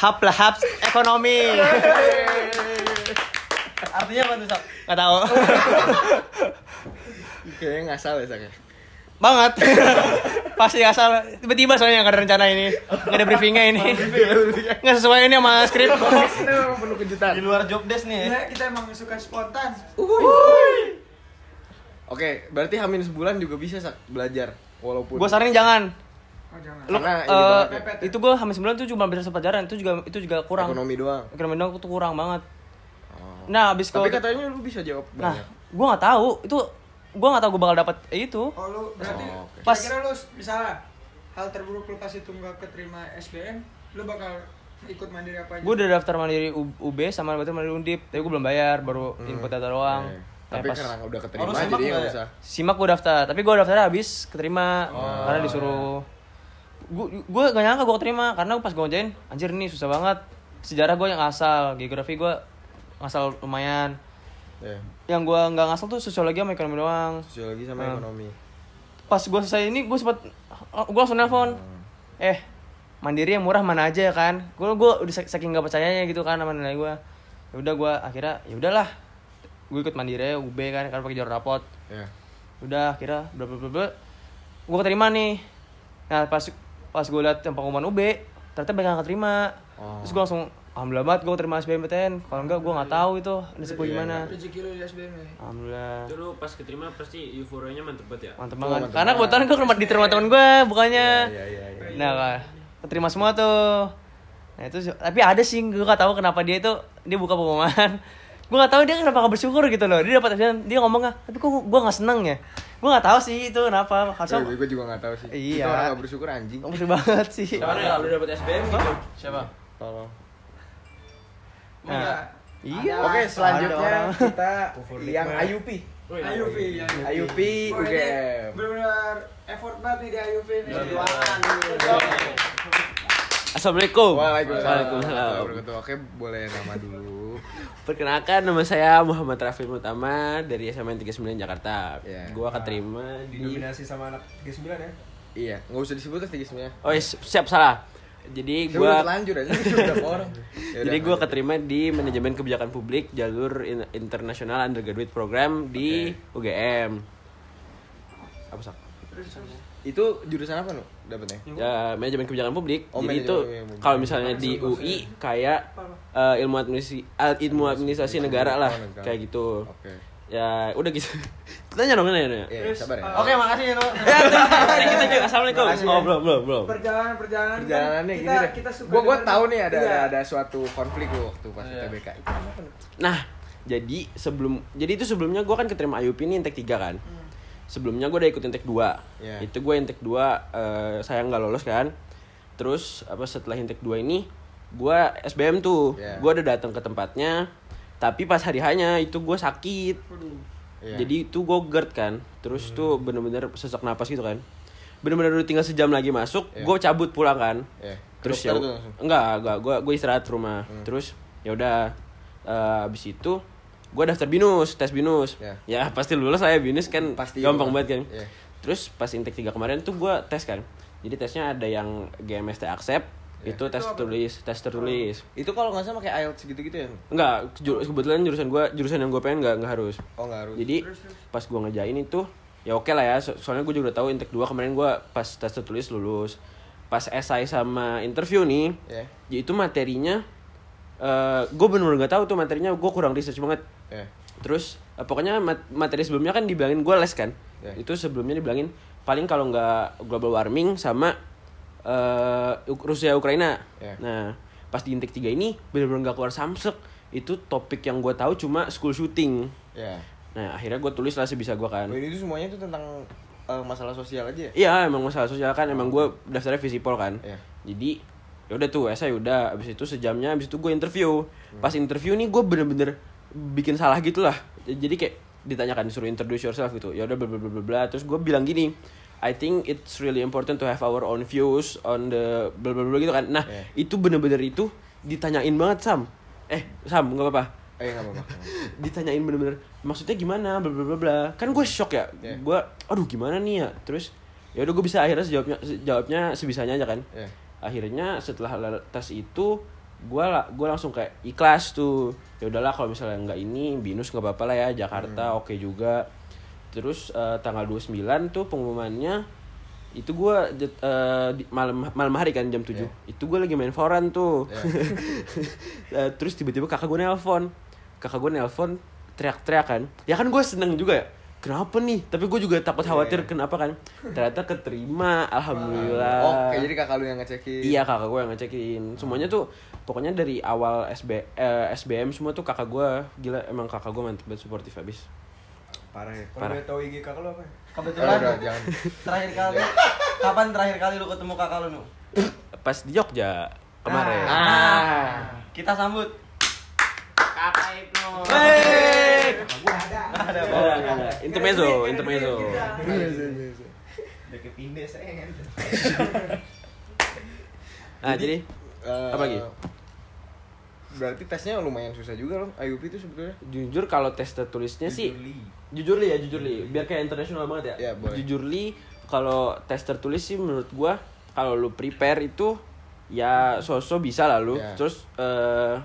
D: Hap lah hap ekonomi.
F: Artinya apa tuh Sak?
D: Gak tahu.
A: kayaknya nggak salah ya Sak.
D: Banget. Pasti asal tiba-tiba soalnya nggak ada rencana ini. Nggak ada briefingnya ini. Nggak sesuai ini sama skrip.
A: penuh kejutan
C: Iya,
F: Di luar job desk nih. ya.
C: Gila, kita emang suka spontan.
A: Oke, Oke, berarti hamin sebulan juga bisa Sak, belajar walaupun
D: Gue saranin jangan.
C: Oh jangan.
D: Lu,
A: Karena Nah, ini
D: eh,
A: doang,
C: Pepet ya?
D: itu gue hampir sebulan tuh cuma belajar pelajaran itu juga itu juga kurang.
A: ekonomi doang.
D: Ekonomi doang tuh kurang banget.
A: Oh.
D: Nah abis
A: Tapi
D: kalau
A: katanya lu bisa jawab
D: nah
A: banyak.
D: gue nggak tahu itu gue nggak tahu gue bakal dapat itu.
C: Oh lu berarti
A: Oh, oke.
D: Pas-
C: kira-kira lu misalnya hal terburuk lu pas itu nggak keterima SBM, lu bakal ikut mandiri apa aja?
D: Gue udah daftar mandiri U- UB sama daftar mandiri Undip, tapi gue belum bayar, baru input data doang.
A: Oke.
D: Nah,
A: Hmm. Iya, Tapi
D: pas
A: karena udah keterima
L: Oh, lu simak
A: jadi nggak
L: nggak ya?
A: usah.
D: simak gue daftar, tapi gue daftarnya habis keterima karena disuruh. Gue gue gak nyangka gue keterima karena pas gue ngerjain anjir nih susah banget. Sejarah gue yang asal, geografi gue ngasal lumayan.
A: Ya,
D: Yang gue nggak ngasal tuh sosiologi sama ekonomi doang.
A: sosiologi sama
D: Hmm.
A: ekonomi.
D: Pas gue selesai ini gue sempet gue langsung nelfon. Eh mandiri yang murah mana aja ya kan? Gue gue udah sak- saking nggak percayanya gitu kan sama nilai gue. Ya udah gue akhirnya ya udahlah. Gue ikut mandiri UB kan karena pakai jalur rapot.
A: Ya.
D: udah kira bla bla bla bla gue keterima nih nah pas pas gue liat yang pengumuman UB ternyata banyak yang keterima
A: Oh.
D: terus gue langsung alhamdulillah banget gue keterima SBMPTN kalau enggak gue nggak tahu itu nasib gue
A: Iya,
D: gimana
C: rezeki lu di SBM
A: Nah.
C: ya.
D: alhamdulillah
G: Itu lu pas keterima pasti euforianya mantep banget ya?
D: mantep
A: Wah,
D: banget
A: mantep
D: karena
A: banget.
D: kebetulan gue rumah diterima teman gue bukannya
A: Iya, iya, iya.
D: nah Kak, keterima semua tuh nah itu tapi ada sih gue gak tahu kenapa dia itu dia buka pengumuman gue gak tahu dia kenapa gak bersyukur gitu loh dia dapat SBM dia ngomongnya tapi kok gue gak seneng ya gue gak tahu sih itu kenapa harusnya
A: gue juga nggak tahu sih.
D: Iya.
A: Kita orang nggak bersyukur anjing.
D: Kamu sedih banget sih.
G: Gimana ya? Lu dapet SBM gitu?
L: Siapa?
A: Tolong.
D: Nah, iya.
A: Oke,
D: Ada
A: selanjutnya
D: orang.
A: kita yang Ayupi.
C: Ayupi ya.
A: Ayupi
C: Wah, ini
A: UGM.
C: Bener-bener effort banget nih di Ayupi nih.
G: ya. Assalamualaikum.
A: Waalaikumsalam. Oke, boleh nama dulu.
G: Perkenalkan nama saya Muhammad Rafi Mutama dari SMN 39 Jakarta.
A: Iya.
G: Gua keterima di
E: Didominasi sama anak 39 ya.
A: Iya, nggak usah disebut pasti sebenarnya.
G: Oh, iya, siap salah. Jadi
A: Gue Iya, udah
G: gua
A: lanjut aja, udah orang. Yaudah,
G: jadi gua
A: lanjut.
G: keterima di manajemen kebijakan publik jalur in- internasional undergraduate program di UGM. Apa sak?
A: Itu jurusan apa lu dapetnya?
G: Ya, manajemen kebijakan publik.
A: Oh,
G: jadi
A: manajemen
D: iya,
G: itu
A: kebijakan publik.
G: kalau misalnya di UI kayak eh, ilmu administrasi eh, ilmu administrasi negara lah
A: Oh, negara.
G: kayak gitu.
A: Oke.
G: Ya udah gitu. Tanya dong, nanya, nanya.
A: Iya, sabar ya.
C: Oke, makasih ya lu.
G: Kita juga assalamualaikum.
D: ya.
G: Oh belum belum belum.
C: Perjalanan-perjalanan kan
A: Perjalanannya
C: kita,
A: gini deh.
C: kita suka
A: Gua gua
C: dengar-
A: tahu nih ada
C: Iya.
A: ada, ada suatu konflik lu waktu pas
G: Iya.
A: TBK.
G: Nah, jadi sebelum jadi itu sebelumnya gue kan keterima IUP ini intek 3 kan.
D: Hmm.
G: Sebelumnya gue udah ikut intek 2.
A: Iya.
G: Itu gue intek 2 eh, saya nggak lolos kan. Terus apa setelah intek 2 ini gue SBM tuh.
A: Iya.
G: Gue udah datang ke tempatnya. Tapi pas hari hanya itu gue sakit.
A: Iya. Hmm.
G: Jadi itu gue GERD kan. Terus tuh bener-bener sesak napas gitu kan. Bener-bener udah tinggal sejam lagi masuk,
A: Iya.
G: gue cabut pulang kan.
A: Iya. Ke
G: Terus
A: dokter
G: ya
A: tuh langsung? Hmm.
G: enggak, enggak, gue gue istirahat di rumah. Terus ya udah eh, abis itu gue daftar binus, tes binus.
A: Iya.
G: Ya pasti lulus saya binus kan
A: Pasti
G: gampang
A: itu kan.
G: banget kan.
A: Iya.
G: Terus pas intek 3 kemarin tuh gue tes kan. Jadi tesnya ada yang GMST accept,
A: Iya.
G: itu tes tulis, tes tertulis.
A: Itu kalau nggak salah kayak IELTS gitu-gitu ya?
G: Enggak, ju- kebetulan jurusan gue jurusan yang gue pengen enggak enggak harus.
A: Oh, nggak harus.
G: Jadi pas gua ngejain itu ya oke lah ya. So- soalnya gue juga udah tahu intek 2 kemarin gua pas tes tertulis lulus. Pas esai sama interview nih,
A: Iya.
G: ya itu materinya eh gue bener-bener gak tahu tuh materinya gue kurang research banget
A: Iya.
G: terus eh, pokoknya mat- materi sebelumnya kan dibilangin gue les kan
A: Ya.
G: itu sebelumnya dibilangin paling kalau nggak global warming sama eh Uk- Rusia Ukraina
A: Ya.
G: nah pas di intik 3 ini bener-bener gak keluar samsek itu topik yang gue tahu cuma school shooting
A: Iya.
G: nah akhirnya gue tulis lah sebisa gue kan
A: Oh, Ini tuh semuanya itu tentang eh, masalah sosial aja ya?
G: Iya emang masalah sosial kan emang gue daftarnya visipol kan.
A: Iya.
G: Jadi ya udah tuh saya udah abis itu sejamnya abis itu gue interview.
A: Hmm.
G: Pas interview nih gue bener-bener bikin salah gitu lah. Jadi kayak ditanyakan disuruh introduce yourself gitu. Ya udah bla bla bla bla bla. Terus gue bilang gini. I think it's really important to have our own views on the bla bla bla gitu kan. Nah
A: Iya.
G: itu bener-bener itu ditanyain banget Sam. Eh Sam nggak apa-apa
A: Eh, nggak apa-apa.
G: ditanyain bener-bener maksudnya gimana bla bla bla bla kan gue shock ya
A: Iya.
G: gue aduh gimana nih ya terus ya udah gue bisa akhirnya sejawabnya jawabnya sebisanya aja kan
A: Iya.
G: akhirnya setelah lel- tes itu gue la gue langsung kayak ikhlas tuh ya udahlah kalau misalnya nggak ini binus nggak apa-apa lah ya
A: Hmm.
G: Jakarta oke juga terus eh, tanggal 29 tuh pengumumannya itu gue malam malam hari kan jam 7
A: Iya.
G: itu gue lagi main foran tuh Eh, terus tiba-tiba kakak gue nelpon kakak gue nelpon teriak-teriak kan ya kan gue seneng juga ya kenapa nih tapi gue juga takut
A: Iya,
G: khawatir kenapa kan ternyata keterima alhamdulillah
A: Oke, jadi kakak lu yang ngecekin.
G: Iya kakak gue yang ngecekin Semuanya tuh pokoknya dari awal SB, eh, SBM semua tuh kakak gue Gila emang kakak gue mantep banget supportive abis
A: Parah ya.
C: Kalau
G: Parah.
C: udah tahu IG kakak lo apa? ya?
A: Udah,
D: Kebetulan
A: udah, jangan.
D: terakhir kali kapan terakhir kali lu ketemu kakak lu, Nu?
G: Pas di Jogja kemarin
D: Ah. Kita sambut.
G: ada Iya, Intermezzo, intermezzo
B: Udah kepindes saya.
G: Nah jadi
A: Eh,
G: Apa lagi?
A: Berarti tesnya lumayan susah juga loh. IUP itu sebetulnya.
G: jujur kalau tes tertulisnya sih jujur li ya jujur li biar kayak internasional
A: Iya,
G: banget ya
A: boleh.
G: jujur li kalau tes tertulis sih menurut gua kalau lu prepare itu ya sosok bisa lah lu
A: Iya.
G: terus eh,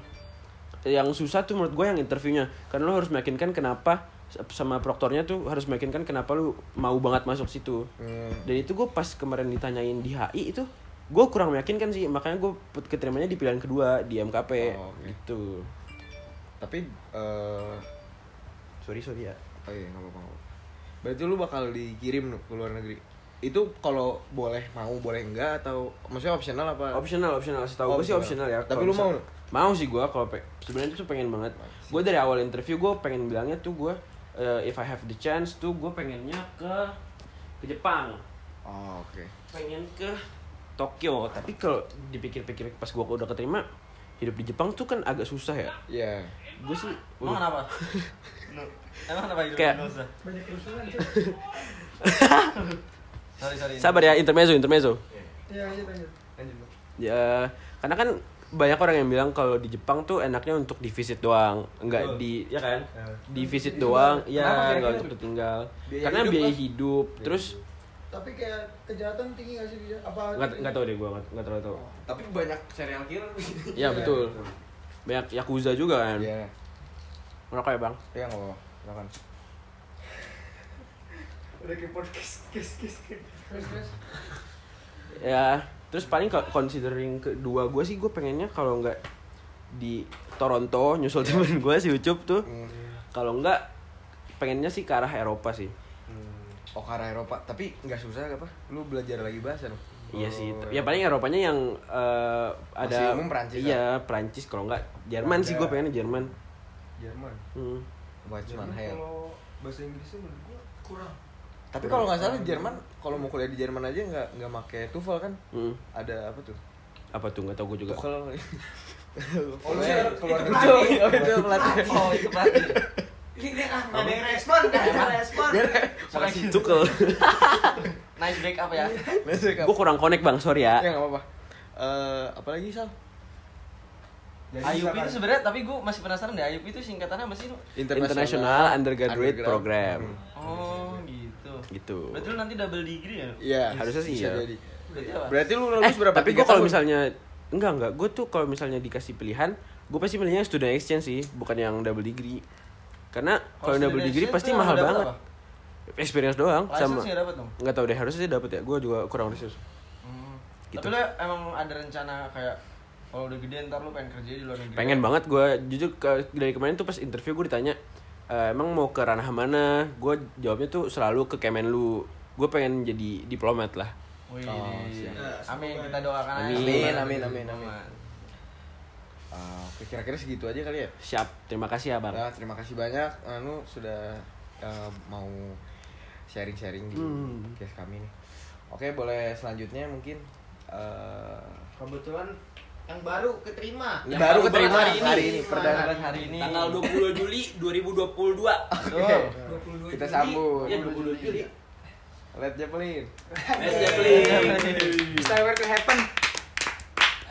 G: yang susah tuh menurut gua yang interviewnya karena lu harus meyakinkan kenapa sama proktornya tuh harus meyakinkan kenapa lu mau banget masuk situ
A: Hmm.
G: dan itu gue pas kemarin ditanyain di HI itu gue kurang meyakinkan sih makanya gue keterimanya di pilihan kedua di MKP
A: Oh, oke.
G: gitu
A: Tapi eh
G: sorry sorry ya
A: oh iya nggak apa-apa. nggak apa-apa. Berarti lu bakal dikirim Nuk, ke luar negeri. Itu kalau boleh mau boleh enggak atau maksudnya opsional apa?
G: optional optional setahu gue sih optional ya
A: Tapi lu
G: Kalau misal-
A: mau Nuk?
G: mau sih gue kalau pe- sebenarnya tuh pengen banget gue dari awal interview gue pengen bilangnya tuh gue eh, if I have the chance tuh gue pengennya ke ke Jepang
A: Oh, oke.
G: pengen ke Tokyo tapi kalau dipikir-pikir pas gue udah keterima hidup di Jepang tuh kan agak susah ya
A: Iya.
G: gue sih
D: Emang kenapa? Emang kenapa hidup
G: Kayak-
D: dosa?
C: Banyak kerusuhan.
D: Sorry, sorry.
G: sabar ya intermezzo intermezzo
C: Iya, iya lanjut.
G: ya karena kan banyak orang yang bilang kalau di Jepang tuh enaknya untuk divisit doang nggak di ya kan divisit doang ya nggak
A: gitu?
G: untuk ditinggal
A: Biaya
G: karena
A: hidup
G: biaya
A: lah.
G: hidup
A: Iya.
G: terus
C: Tapi kayak kejahatan tinggi gak sih? dia? Apa?
G: nggak nggak tahu deh gue nggak nggak terlalu tahu
A: Tapi banyak serial killer.
G: ya betul banyak yakuza juga kan
A: Iya.
G: merokok ya bang
A: Iya nggak apa-apa. Silakan.
C: Udah kayak podcast, kes, kes, kes. Terus, terus.
G: ya terus paling kalau considering kedua gue sih gue pengennya kalau nggak di Toronto nyusul temen gue si Ucup tuh
A: Hmm,
G: kalau nggak pengennya sih ke arah Eropa sih
A: Oh, ke arah Eropa. Tapi nggak susah apa? Lu belajar lagi bahasa Nuk?
G: Iya sih,
A: Oh,
G: ya paling Eropanya yang eh,
A: Masih
G: ada
A: umum Prancis,
G: Iya, Prancis kalau enggak Jerman sih gue pengennya Jerman.
B: Jerman.
G: Hmm.
A: Watchman
B: Jerman
A: Hell.
B: Kalau bahasa Inggrisnya menurut gua kurang.
A: Tapi kalau nggak salah Jerman kalau mau kuliah di Jerman aja nggak nggak pakai TOEFL kan?
G: Hmm.
A: Ada apa tuh?
G: Apa tuh nggak tahu gue juga.
A: TOEFL.
B: Oh, lu sih keluar
A: Itu
B: negeri.
A: itu pelatih.
D: Oh, itu pasti.
B: Ini ah nggak ada yang respon, nggak ada yang respon.
G: Makasih tukel.
D: Nice break up ya.
A: Masuk apa?
G: gue kurang connect bang, sorry
A: Ya
G: ya.
A: nggak apa-apa. Eh, apalagi Sal?
B: Jadi
D: IUP
B: misalkan-
D: itu sebenarnya tapi gue masih penasaran deh IUP itu singkatannya apa sih? Nu?
G: International Undergraduate
A: Undergrad.
G: Program.
A: Hmm.
D: Oh, gitu.
G: Gitu.
D: Berarti lu nanti double degree ya? Nu?
A: Iya.
G: Harusnya sih
A: bisa
G: iya.
A: jadi.
D: Berarti apa?
A: Berarti lu
G: Eh,
A: lulus berapa?
G: tapi
A: Tiga
G: gue kalau
A: tahun?
G: misalnya enggak enggak, gue tuh kalau misalnya dikasih pilihan, gue pasti pilihnya student exchange sih, bukan yang double degree. Karena
D: Kalau
G: kalau yang double
D: student
G: degree
D: exchange
G: pasti
D: tuh
G: mahal
D: dapat
G: banget.
D: apa?
G: Experience doang
D: License
G: sama
D: nggak dapat dong.
G: nggak tahu deh harusnya sih dapat ya gue juga kurang research
D: Hmm.
G: Gitu.
D: Tapi lu emang ada rencana kayak kalau udah gede ntar lu pengen kerja di luar negeri?
G: pengen banget gue jujur ke, dari kemarin tuh pas interview gue ditanya "Eh, emang mau ke ranah mana gue jawabnya tuh selalu ke Kemenlu gue pengen jadi diplomat lah
D: Wih,
A: Oh, siap.
D: amin kita doakan aja.
G: Amin,
A: amin, amin, amin. Ah, oke, kira-kira segitu aja kali ya.
G: siap terima kasih ya bang
A: Nah, terima kasih banyak Anu sudah eh, mau sharing-sharing di
G: Hmm.
A: podcast kami nih. Oke, boleh selanjutnya mungkin eh,
B: kebetulan yang baru keterima.
A: Yang baru keterima hari ini. Perdana.
D: Perdana hari ini.
G: 20 Juli 2022
D: Betul.
A: kita sambut.
G: ya 20 Juli
A: Led Zeppelin.
C: Stay where to happen.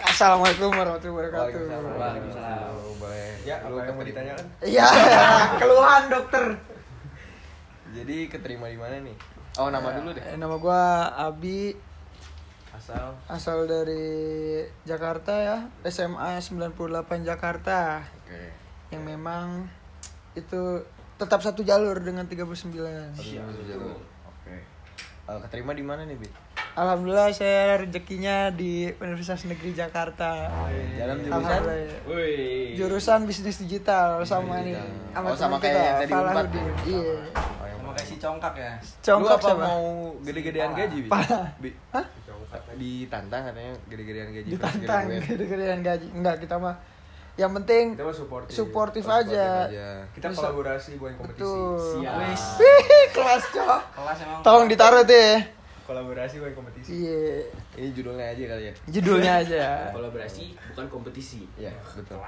C: Assalamualaikum warahmatullahi wabarakatuh.
A: Waalaikumsalam. Boleh.
B: Ya, apa
A: Lu
B: yang mau
A: keterima.
B: ditanyakan?
C: Iya, keluhan dokter.
A: Jadi keterima di mana nih? Oh, nama dulu deh.
C: Eh, Nama gua Abi,
A: Asal
C: asal dari Jakarta ya, SMA 98 Jakarta.
A: Oke.
C: Yang memang itu tetap satu jalur dengan 39.
A: Aduh, jalur. Oke. Eh, keterima di mana nih, Bi?
C: Alhamdulillah saya rezekinya di Universitas Negeri Jakarta.
A: Dalam jurusan
C: Alhamdulillah.
G: Woi.
C: Jurusan bisnis digital sama nih.
A: Oh, sama
C: teman
A: kayak
C: kita,
A: yang tadi Unpad.
C: Falahuddin. Iya.
A: Oh, yang
D: Terima kasih si congkak ya
A: Lu
C: Congkak
A: apa
C: siapa?
A: mau gede-gedean gaji? Bi? Bi? Ditantang katanya gede-gedean gaji. fresh
C: ditantang
A: graduate.
C: gede-gedean gaji enggak kita mah yang penting
A: Kita mah supportive.
C: Supportive
A: Oh,
C: aja.
A: Kita
C: Bisa.
A: kolaborasi bukan kompetisi.
C: betul
D: Wis,
C: Wih, kelas cok
D: kelas emang
C: tolong ditaruh tuh ya
A: Kolaborasi bukan kompetisi.
C: iya
A: Ini judulnya aja kali ya.
C: judulnya aja
G: Kolaborasi bukan kompetisi.
A: Iya, betul.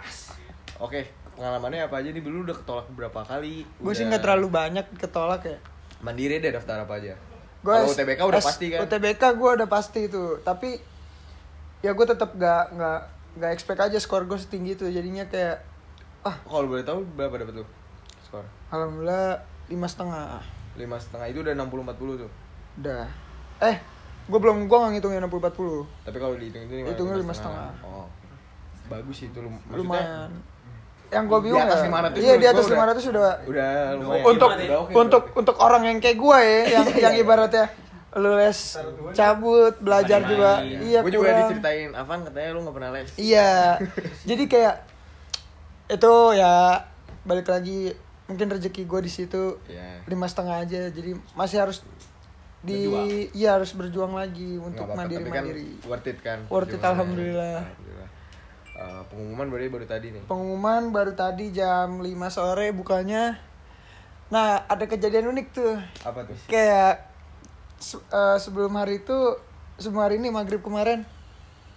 A: Oke, pengalamannya apa aja nih? Dulu udah ketolak berapa kali?
C: gue sih
A: Udah-
C: nggak terlalu banyak ketolak ya
A: Mandiri deh daftar apa aja.
C: Gua
A: Kalau
C: S-
A: UTBK udah
C: S-
A: pasti kan.
C: UTBK gue udah pasti itu tapi ya gue tetap gak nggak nggak expect aja skor gue setinggi itu jadinya kayak ah
A: Kalau boleh tahu berapa dapat lu? Skor.
C: alhamdulillah lima setengah
A: lima setengah itu udah 60-40 tuh.
C: udah eh gue belum gue nggak ngitungin 60 40
A: Tapi kalau dihitung itu lima-
C: Hitungnya
A: lima
C: lima setengah.
A: Oh. Bagus sih itu lu. Maksudnya
C: lumayan yang gue bingung
A: atas
C: ya
A: 500
C: iya di
A: menurut
C: atas
A: gua udah-
C: 500 udah
A: Udah lumayan.
C: untuk
A: Udah oke, udah
C: untuk
A: oke. Iya,
C: untuk orang yang kayak gue ya yang yang ibaratnya lu les cabut belajar juga iya
A: Gue juga
C: kurang.
A: diceritain Avan katanya lu gak pernah les.
C: Iya. Jadi kayak itu ya balik lagi mungkin rezeki gue di situ
A: Iya.
C: lima setengah aja. Jadi masih harus di iya harus berjuang lagi
A: Nggak
C: untuk
A: apa-apa,
C: mandiri
A: tapi
C: mandiri.
A: Kan worth it kan.
C: Worth it,
A: perjuangannya.
C: alhamdulillah.
A: Alhamdulillah. Eh, pengumuman berarti baru tadi nih.
C: Pengumuman baru tadi jam 5 sore bukanya. Nah ada kejadian unik tuh.
A: Apa tuh?
C: Kayak se- eh, sebelum hari itu sebelum hari ini maghrib kemarin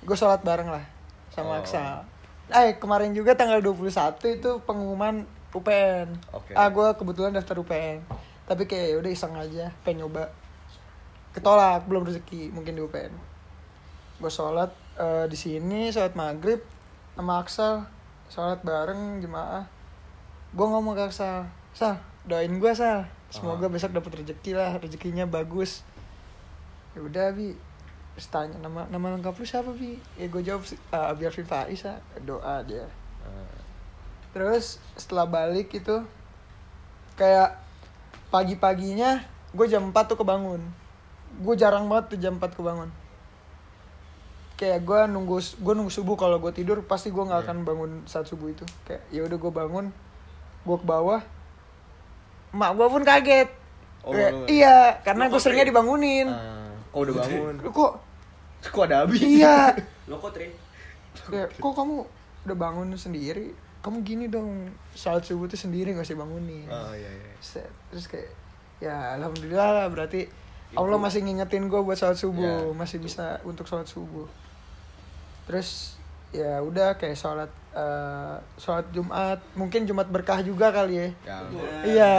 C: gue sholat bareng lah sama
A: Oh.
C: Aksal. Eh kemarin juga tanggal 21 itu pengumuman UPN.
A: Oke.
C: Ah gue kebetulan daftar UPN. Tapi kayak ya udah iseng aja pengen nyoba. Ketolak belum rezeki mungkin di UPN. Gue sholat eh, di sini sholat maghrib sama Aksal sholat bareng jemaah. Gue ngomong ke Aksal, Sal doain gue Sal. Semoga besok dapat rezeki lah rezekinya bagus ya udah bi terus tanya nama nama lengkap lu siapa bi ya gue jawab uh, biar Faiz ah. doa dia terus setelah balik itu kayak pagi paginya gue jam 4 tuh kebangun gue jarang banget tuh jam 4 kebangun kayak gue nunggu gue nunggu subuh kalau gue tidur pasti gue
A: Iya.
C: nggak akan bangun saat subuh itu kayak ya udah gue bangun gue ke bawah mak gue pun kaget
A: Oh,
C: Kayak,
A: lu-
C: iya karena gue seringnya dibangunin
A: Eh, kok
C: Iya.
A: udah bangun?
C: Lu kok
A: kok ada abi?
C: iya
G: Lo kok Tri?
C: Ya, kok kamu udah bangun sendiri kamu gini dong saat subuh tuh sendiri nggak usah bangunin
A: Oh iya iya.
C: Set. terus kayak ya alhamdulillah lah berarti Allah masih ngingetin gue buat sholat
A: Ya,
C: subuh masih bisa untuk sholat subuh terus ya udah kayak sholat eh, sholat Jumat mungkin Jumat berkah juga kali ya
A: Ya,
C: iya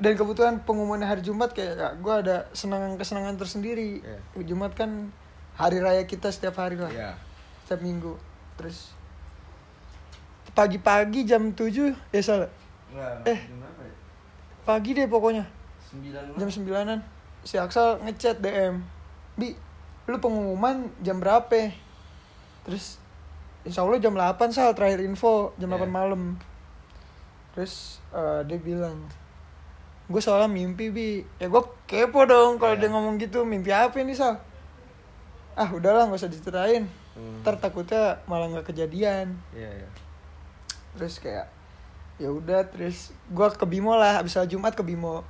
C: dan kebetulan pengumuman hari Jumat kayak ya, gue ada senangan kesenangan tersendiri
A: Ya.
C: Jumat kan hari raya kita setiap hari lah
A: Iya.
C: setiap minggu terus pagi-pagi jam 7 ya salah eh pagi deh pokoknya jam 9an si Aksal ngechat DM bi lu pengumuman jam berapa terus insya Allah jam 8 sal terakhir info jam 8 malam terus eh, dia bilang gue soalnya mimpi bi ya gue kepo dong kalau dia ngomong gitu mimpi apa ini sal ah udahlah nggak usah diceritain ntar takutnya malah nggak kejadian
A: Hmm. Iya iya.
C: terus kayak ya udah terus gua ke Bimo lah abis sholat Jumat ke Bimo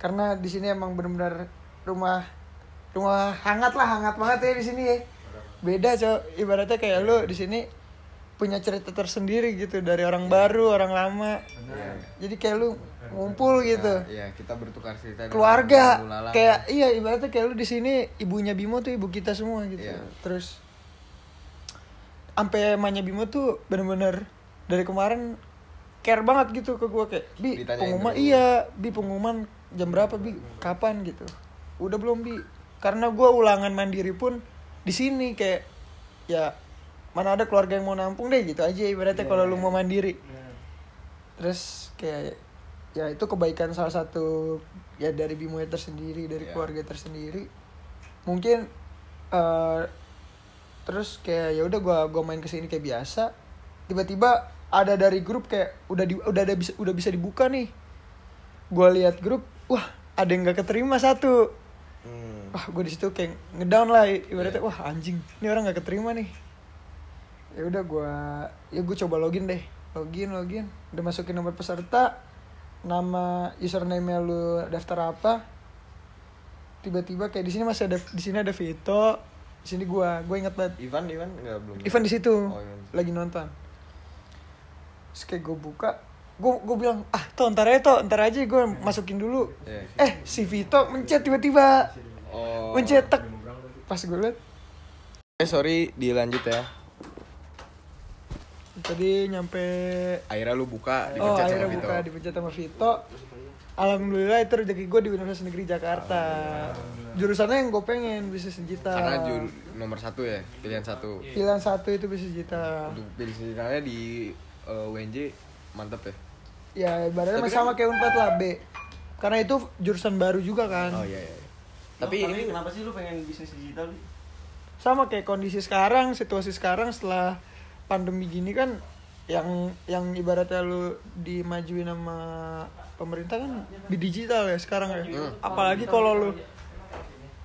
C: karena di sini emang bener-bener rumah rumah hangat lah hangat banget ya di sini ya beda cok ibaratnya kayak lu di sini punya cerita tersendiri gitu dari
A: Iya.
C: orang baru orang lama jadi kayak lu ngumpul gitu
A: Nah, Iya, kita bertukar cerita dengan
C: keluarga
A: lalu lalang.
C: kayak iya ibaratnya kayak lu di sini ibunya Bimo tuh ibu kita semua gitu
A: Iya.
C: terus sampai emaknya Bimo tuh bener-bener dari kemarin care banget gitu ke gua kayak bi
A: Ditanyain
C: pengumuman
A: dulu."
C: iya bi pengumuman jam berapa bi kapan gitu udah belum bi karena gua ulangan mandiri pun di sini kayak ya mana ada keluarga yang mau nampung deh gitu aja ibaratnya
A: Iya,
C: kalau lu mau mandiri terus kayak ya itu kebaikan salah satu ya dari Bimo tersendiri dari
A: Iya.
C: keluarga tersendiri mungkin eh, terus kayak ya udah gua gua main kesini kayak biasa tiba-tiba ada dari grup kayak udah di, udah ada bisa udah bisa dibuka nih gua lihat grup wah ada yang nggak keterima satu
A: Hmm.
C: wah gue di situ kayak ngedown lah i- ibaratnya wah anjing ini orang nggak keterima nih ya udah gue ya gue coba login deh login login udah masukin nomor peserta nama username lu daftar apa tiba-tiba kayak di sini masih ada di sini ada Vito di sini gua gua inget banget
A: Ivan Ivan nggak belum
C: Ivan di situ
A: Oh, Ivan.
C: lagi nonton terus kayak gue buka gue gue bilang ah toh ntar aja toh ntar aja gue masukin dulu
A: Iya.
C: eh si Vito mencet tiba-tiba
A: oh
C: mencet tek pas gue liat
A: Eh, sorry dilanjut ya
C: tadi nyampe
A: akhirnya lu buka dipencet
C: oh
A: sama
C: akhirnya
A: Vito
C: buka dipencet sama Vito alhamdulillah itu rezeki gue di Universitas Negeri Jakarta jurusannya yang gue pengen bisnis digital
A: karena jur- nomor satu ya pilihan satu
C: pilihan satu itu bisnis digital
A: untuk pilihan digitalnya di eh, UNJ mantep ya
C: ya ibaratnya
A: Tapi kan
C: masih sama kayak unpad lah B karena itu jurusan baru juga kan
A: oh iya iya
D: Tapi ini kenapa sih lu pengen bisnis digital? Bi?
C: sama kayak kondisi sekarang situasi sekarang setelah pandemi gini kan yang yang ibaratnya lu dimajuin sama pemerintah kan di digital ya sekarang ya
A: Hmm.
C: apalagi kalau lu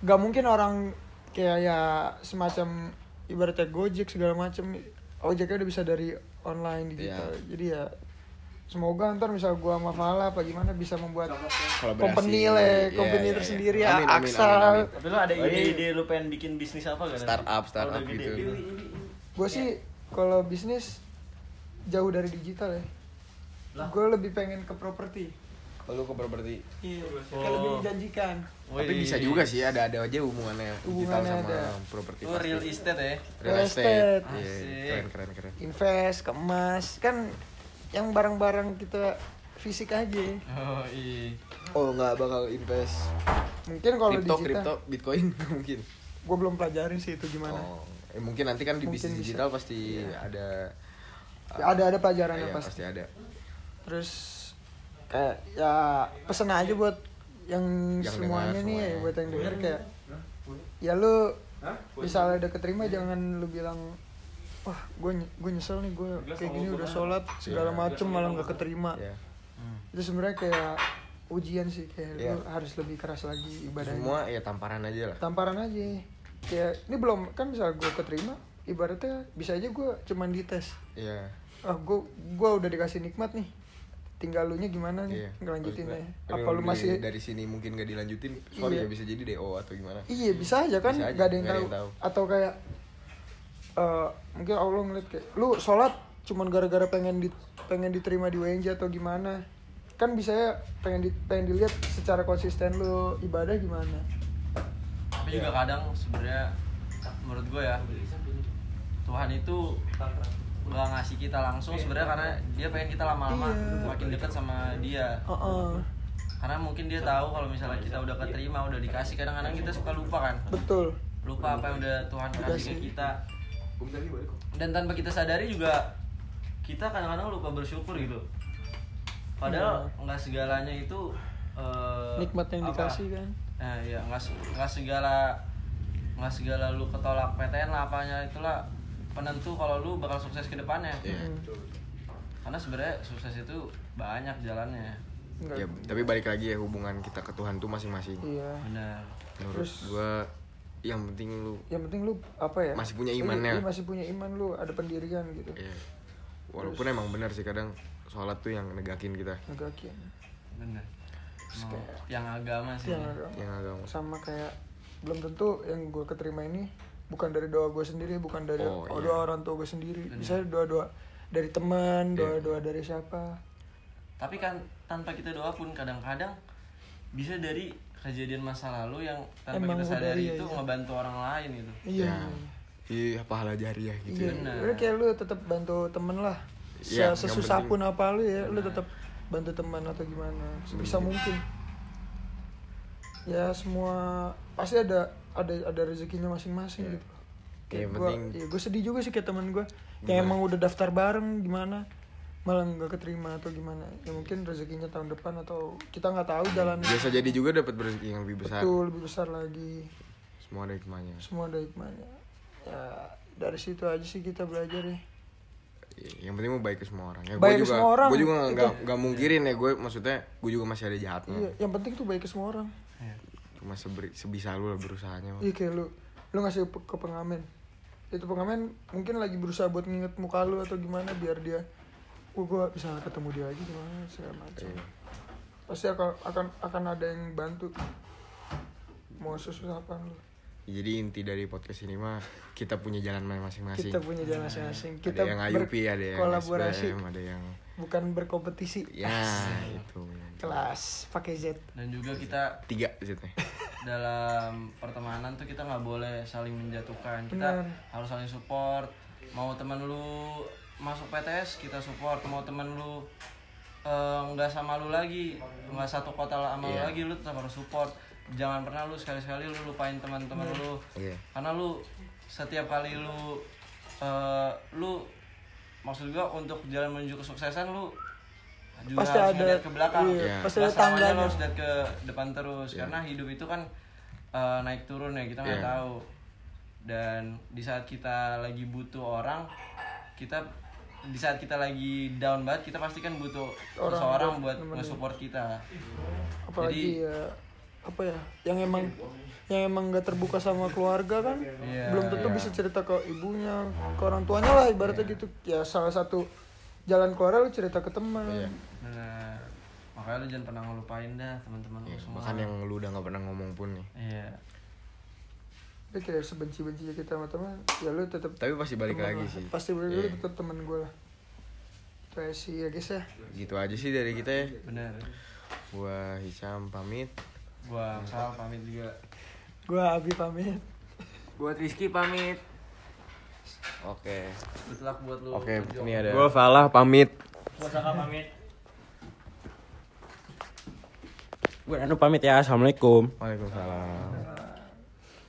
C: gak mungkin orang kayak ya semacam ibaratnya gojek segala macem ojeknya udah bisa dari online digital
A: Iya.
C: jadi ya semoga ntar misal gua sama Fala apa gimana bisa membuat
A: Kolaborasi.
C: company lah ya,
A: Iya,
C: company
A: iya, iya.
C: tersendiri
A: Amin,
C: ya
A: amin, amin,
C: Aksa
A: amin.
D: Tapi lu ada ide-ide lu pengen bikin bisnis apa gak? nanti?
A: startup
D: Kalau
A: startup
D: udah gede.
A: gitu
C: gue sih kalau bisnis jauh dari digital ya gue lebih pengen ke properti
A: lu ke properti
C: iya kayak lebih menjanjikan
A: tapi bisa juga sih ada ada aja hubungannya digital
C: Hubungannya
A: sama
C: ada.
A: properti
D: Lu real estate ya.
A: real
C: Real
A: estate
C: estate.
A: Iya, keren keren keren
C: invest ke emas kan yang barang-barang kita fisik aja
A: Ya.
D: Oh iya.
A: oh nggak bakal invest
C: mungkin kalau
A: kripto kripto
C: digital
A: bitcoin mungkin
C: gue belum pelajarin sih itu gimana
A: oh eh, mungkin nanti kan di
C: Mungkin
A: bisnis
C: bisa.
A: digital pasti ada
C: Ya, ada ada pelajarannya
A: Iya,
C: pasti
A: pasti ada
C: terus kayak ya pesen aja buat yang,
A: Yang
C: semuanya
A: dengar
C: nih ya,
A: semuanya.
C: buat yang denger kayak ya lu misalnya udah keterima jangan lu bilang wah gue gue nyesel nih gue kayak gini udah sholat segala macem malah nggak keterima
A: Iya.
C: itu sebenarnya kayak ujian sih kayak
A: Iya.
C: lu harus lebih keras lagi ibadahnya
A: semua ya tamparan aja lah
C: tamparan aja kayak ini belum kan misal gue keterima ibaratnya bisa aja gue cuman dites
A: iya
C: ah gue gua udah dikasih nikmat nih tinggal lu nya gimana nih
A: iya
C: ngelanjutin ya
A: Tapi
C: apa lu
A: dari-
C: masih
A: dari sini mungkin gak dilanjutin sorry ya
C: Iya.
A: bisa jadi DO atau gimana
C: iya bisa aja kan
A: Bisa aja,
C: gak ada yang
A: nggak ada
C: tahu
A: yang tahu.
C: atau kayak eh mungkin allah ngeliat kayak lu sholat cuman gara-gara pengen di pengen diterima di WNJ atau gimana kan bisa ya pengen di, pengen dilihat secara konsisten lu ibadah gimana
D: Tapi juga kadang sebenarnya menurut gue ya Tuhan itu nggak ngasih kita langsung sebenarnya karena dia pengen kita lama-lama
C: Iya.
D: makin dekat sama dia
C: Heeh.
D: karena mungkin dia tahu kalau misalnya kita udah keterima udah dikasih kadang-kadang kita suka lupa kan
C: betul
D: lupa apa yang udah Tuhan
C: Iya
D: kasih ke kita dan tanpa kita sadari juga kita kadang-kadang lupa bersyukur gitu padahal nggak segalanya itu eh,
C: Iya. nikmat yang
D: apa,
C: dikasih kan
D: Nah, ya nggak se- nggak segala nggak segala lu ketolak PTN lah apanya itulah penentu kalau lu bakal sukses ke depannya.
C: Hmm,
A: Iya.
D: Karena sebenarnya sukses itu banyak jalannya.
C: Nggak-
A: ya tapi balik lagi ya hubungan kita ke Tuhan tuh masing-masing
C: iya
D: Benar.
A: menurut gua yang penting lu
C: yang penting lu apa ya
A: Masih punya imannya.
C: Iya, iya, masih punya iman lu ada pendirian gitu
A: ya walaupun emang benar sih kadang sholat tuh yang negakin kita
C: agak kian
A: Hmm.
D: Benar. Mau tiang agama sih.
C: yang agak
A: yang agama
C: Iya, sama kayak belum tentu yang gue keterima ini bukan dari doa gue sendiri bukan dari
A: Oh, iya. Hmm. Iya.
C: doa orang tua gue sendiri misalnya doa doa dari teman doa doa dari siapa
D: Tapi kan tanpa kita doa pun kadang-kadang bisa dari kejadian masa lalu yang tanpa
C: Emang
D: kita
C: udah
D: sadari
C: iya,
D: itu
C: iya.
D: ngebantu orang lain gitu.
C: iya
A: Ya, iya pahala jariah gitu ya
C: iya
D: Benar.
C: udah kayak lu tetap bantu temen lah Se-
A: Iya, yang
C: sesusah
A: penting.
C: pun apa lu ya lu tetap bantu teman atau gimana sebisa mungkin ya semua pasti ada ada ada rezekinya masing-masing gitu
A: Kayak yang
C: gua-
A: penting
C: iya, gue sedih juga sih kayak temen gue yang emang udah daftar bareng gimana malah nggak keterima atau gimana ya mungkin rezekinya tahun depan atau kita nggak tahu
A: Iya,
C: jalan
A: biasa jadi juga dapat rezeki yang lebih besar
C: itu lebih besar lagi
A: semua ada hikmahnya
C: semua ada hikmahnya ya dari situ aja sih kita belajar ya
A: Iya, yang penting mau baik ke semua orang ya gue
C: Baik ke
A: juga
C: semua orang,
A: gue juga nggak-
C: itu.
A: nggak nggak mungkirin ya gue maksudnya gue juga masih ada jahatnya
C: iya yang penting tuh baik ke semua orang
A: cuma seberi- sebisa lu lah berusahanya mah.
C: iya kayak lu lu ngasih pe- ke pengamen itu pengamen mungkin lagi berusaha buat nginget muka lu atau gimana biar dia oh gue bisa ketemu dia lagi gimana segala macam
A: Iya.
C: pasti akan akan akan ada yang bantu mau susah apa lu
A: Jadi inti dari podcast ini mah kita punya jalan main masing-masing.
C: kita punya jalan masing-masing kita
A: ada yang Ayupi, ada yang
C: kolaborasi
A: SBM, ada yang
C: bukan berkompetisi
A: ya itu.
C: kelas pakai Z
D: dan juga kita
A: Tiga maksudnya.
D: dalam pertemanan tuh kita nggak boleh saling menjatuhkan
C: Benar.
D: kita harus saling support mau teman lu masuk PTS kita support mau teman lu eh, nggak sama lu lagi nggak satu kota lah sama lu
A: Iya.
D: lagi lu tetap harus support jangan pernah lu sekali-sekali lu lupain teman-teman lu
A: Iya.
D: karena lu setiap kali lu eh, lu maksud gua untuk jalan menuju kesuksesan lu juga
C: Pasti
D: harus
C: ada-
D: ngeliat ke belakang
C: iya,
A: Iya.
C: pasti ada
D: Gak selamanya
C: tangganya.
D: lu harus lihat ke depan terus karena hidup itu kan eh, naik turun ya kita nggak
A: Iya.
D: tahu dan di saat kita lagi butuh orang kita di saat kita lagi down banget kita pasti kan butuh
C: Orang
D: seseorang
C: buat
D: buat
C: nemenin.
D: nge-support kita
C: apalagi ya apa ya yang emang yang emang gak terbuka sama keluarga kan
D: Iya,
C: belum tentu bisa cerita ke ibunya ke orang tuanya lah ibaratnya
A: Iya.
C: gitu ya salah satu jalan keluar lu cerita ke teman
A: Iya.
D: Bener. makanya lu jangan pernah ngelupain dah teman-teman lu
A: Iya,
D: semua
A: Bahkan yang lu udah nggak pernah ngomong pun nih.
D: iya
C: Tapi kayak sebenci bencinya kita sama teman ya lu tetap
A: Tapi pasti balik lagi sih.
C: pasti lu
A: Iya.
C: tetap teman gue lah Itu aja sih ya guys ya
A: Gitu aja sih dari kita ya.
D: bener
A: Gua Hisham pamit.
D: gua Sal pamit juga
C: gue Abi pamit
B: Buat Rizky pamit.
A: Oke.
D: good luck buat lu
A: Oke,
D: berjuang.
A: ini ada.
F: Gue Falah pamit.
B: Buat Saka pamit.
G: Gue Anu pamit ya. Assalamualaikum.
A: Waalaikumsalam.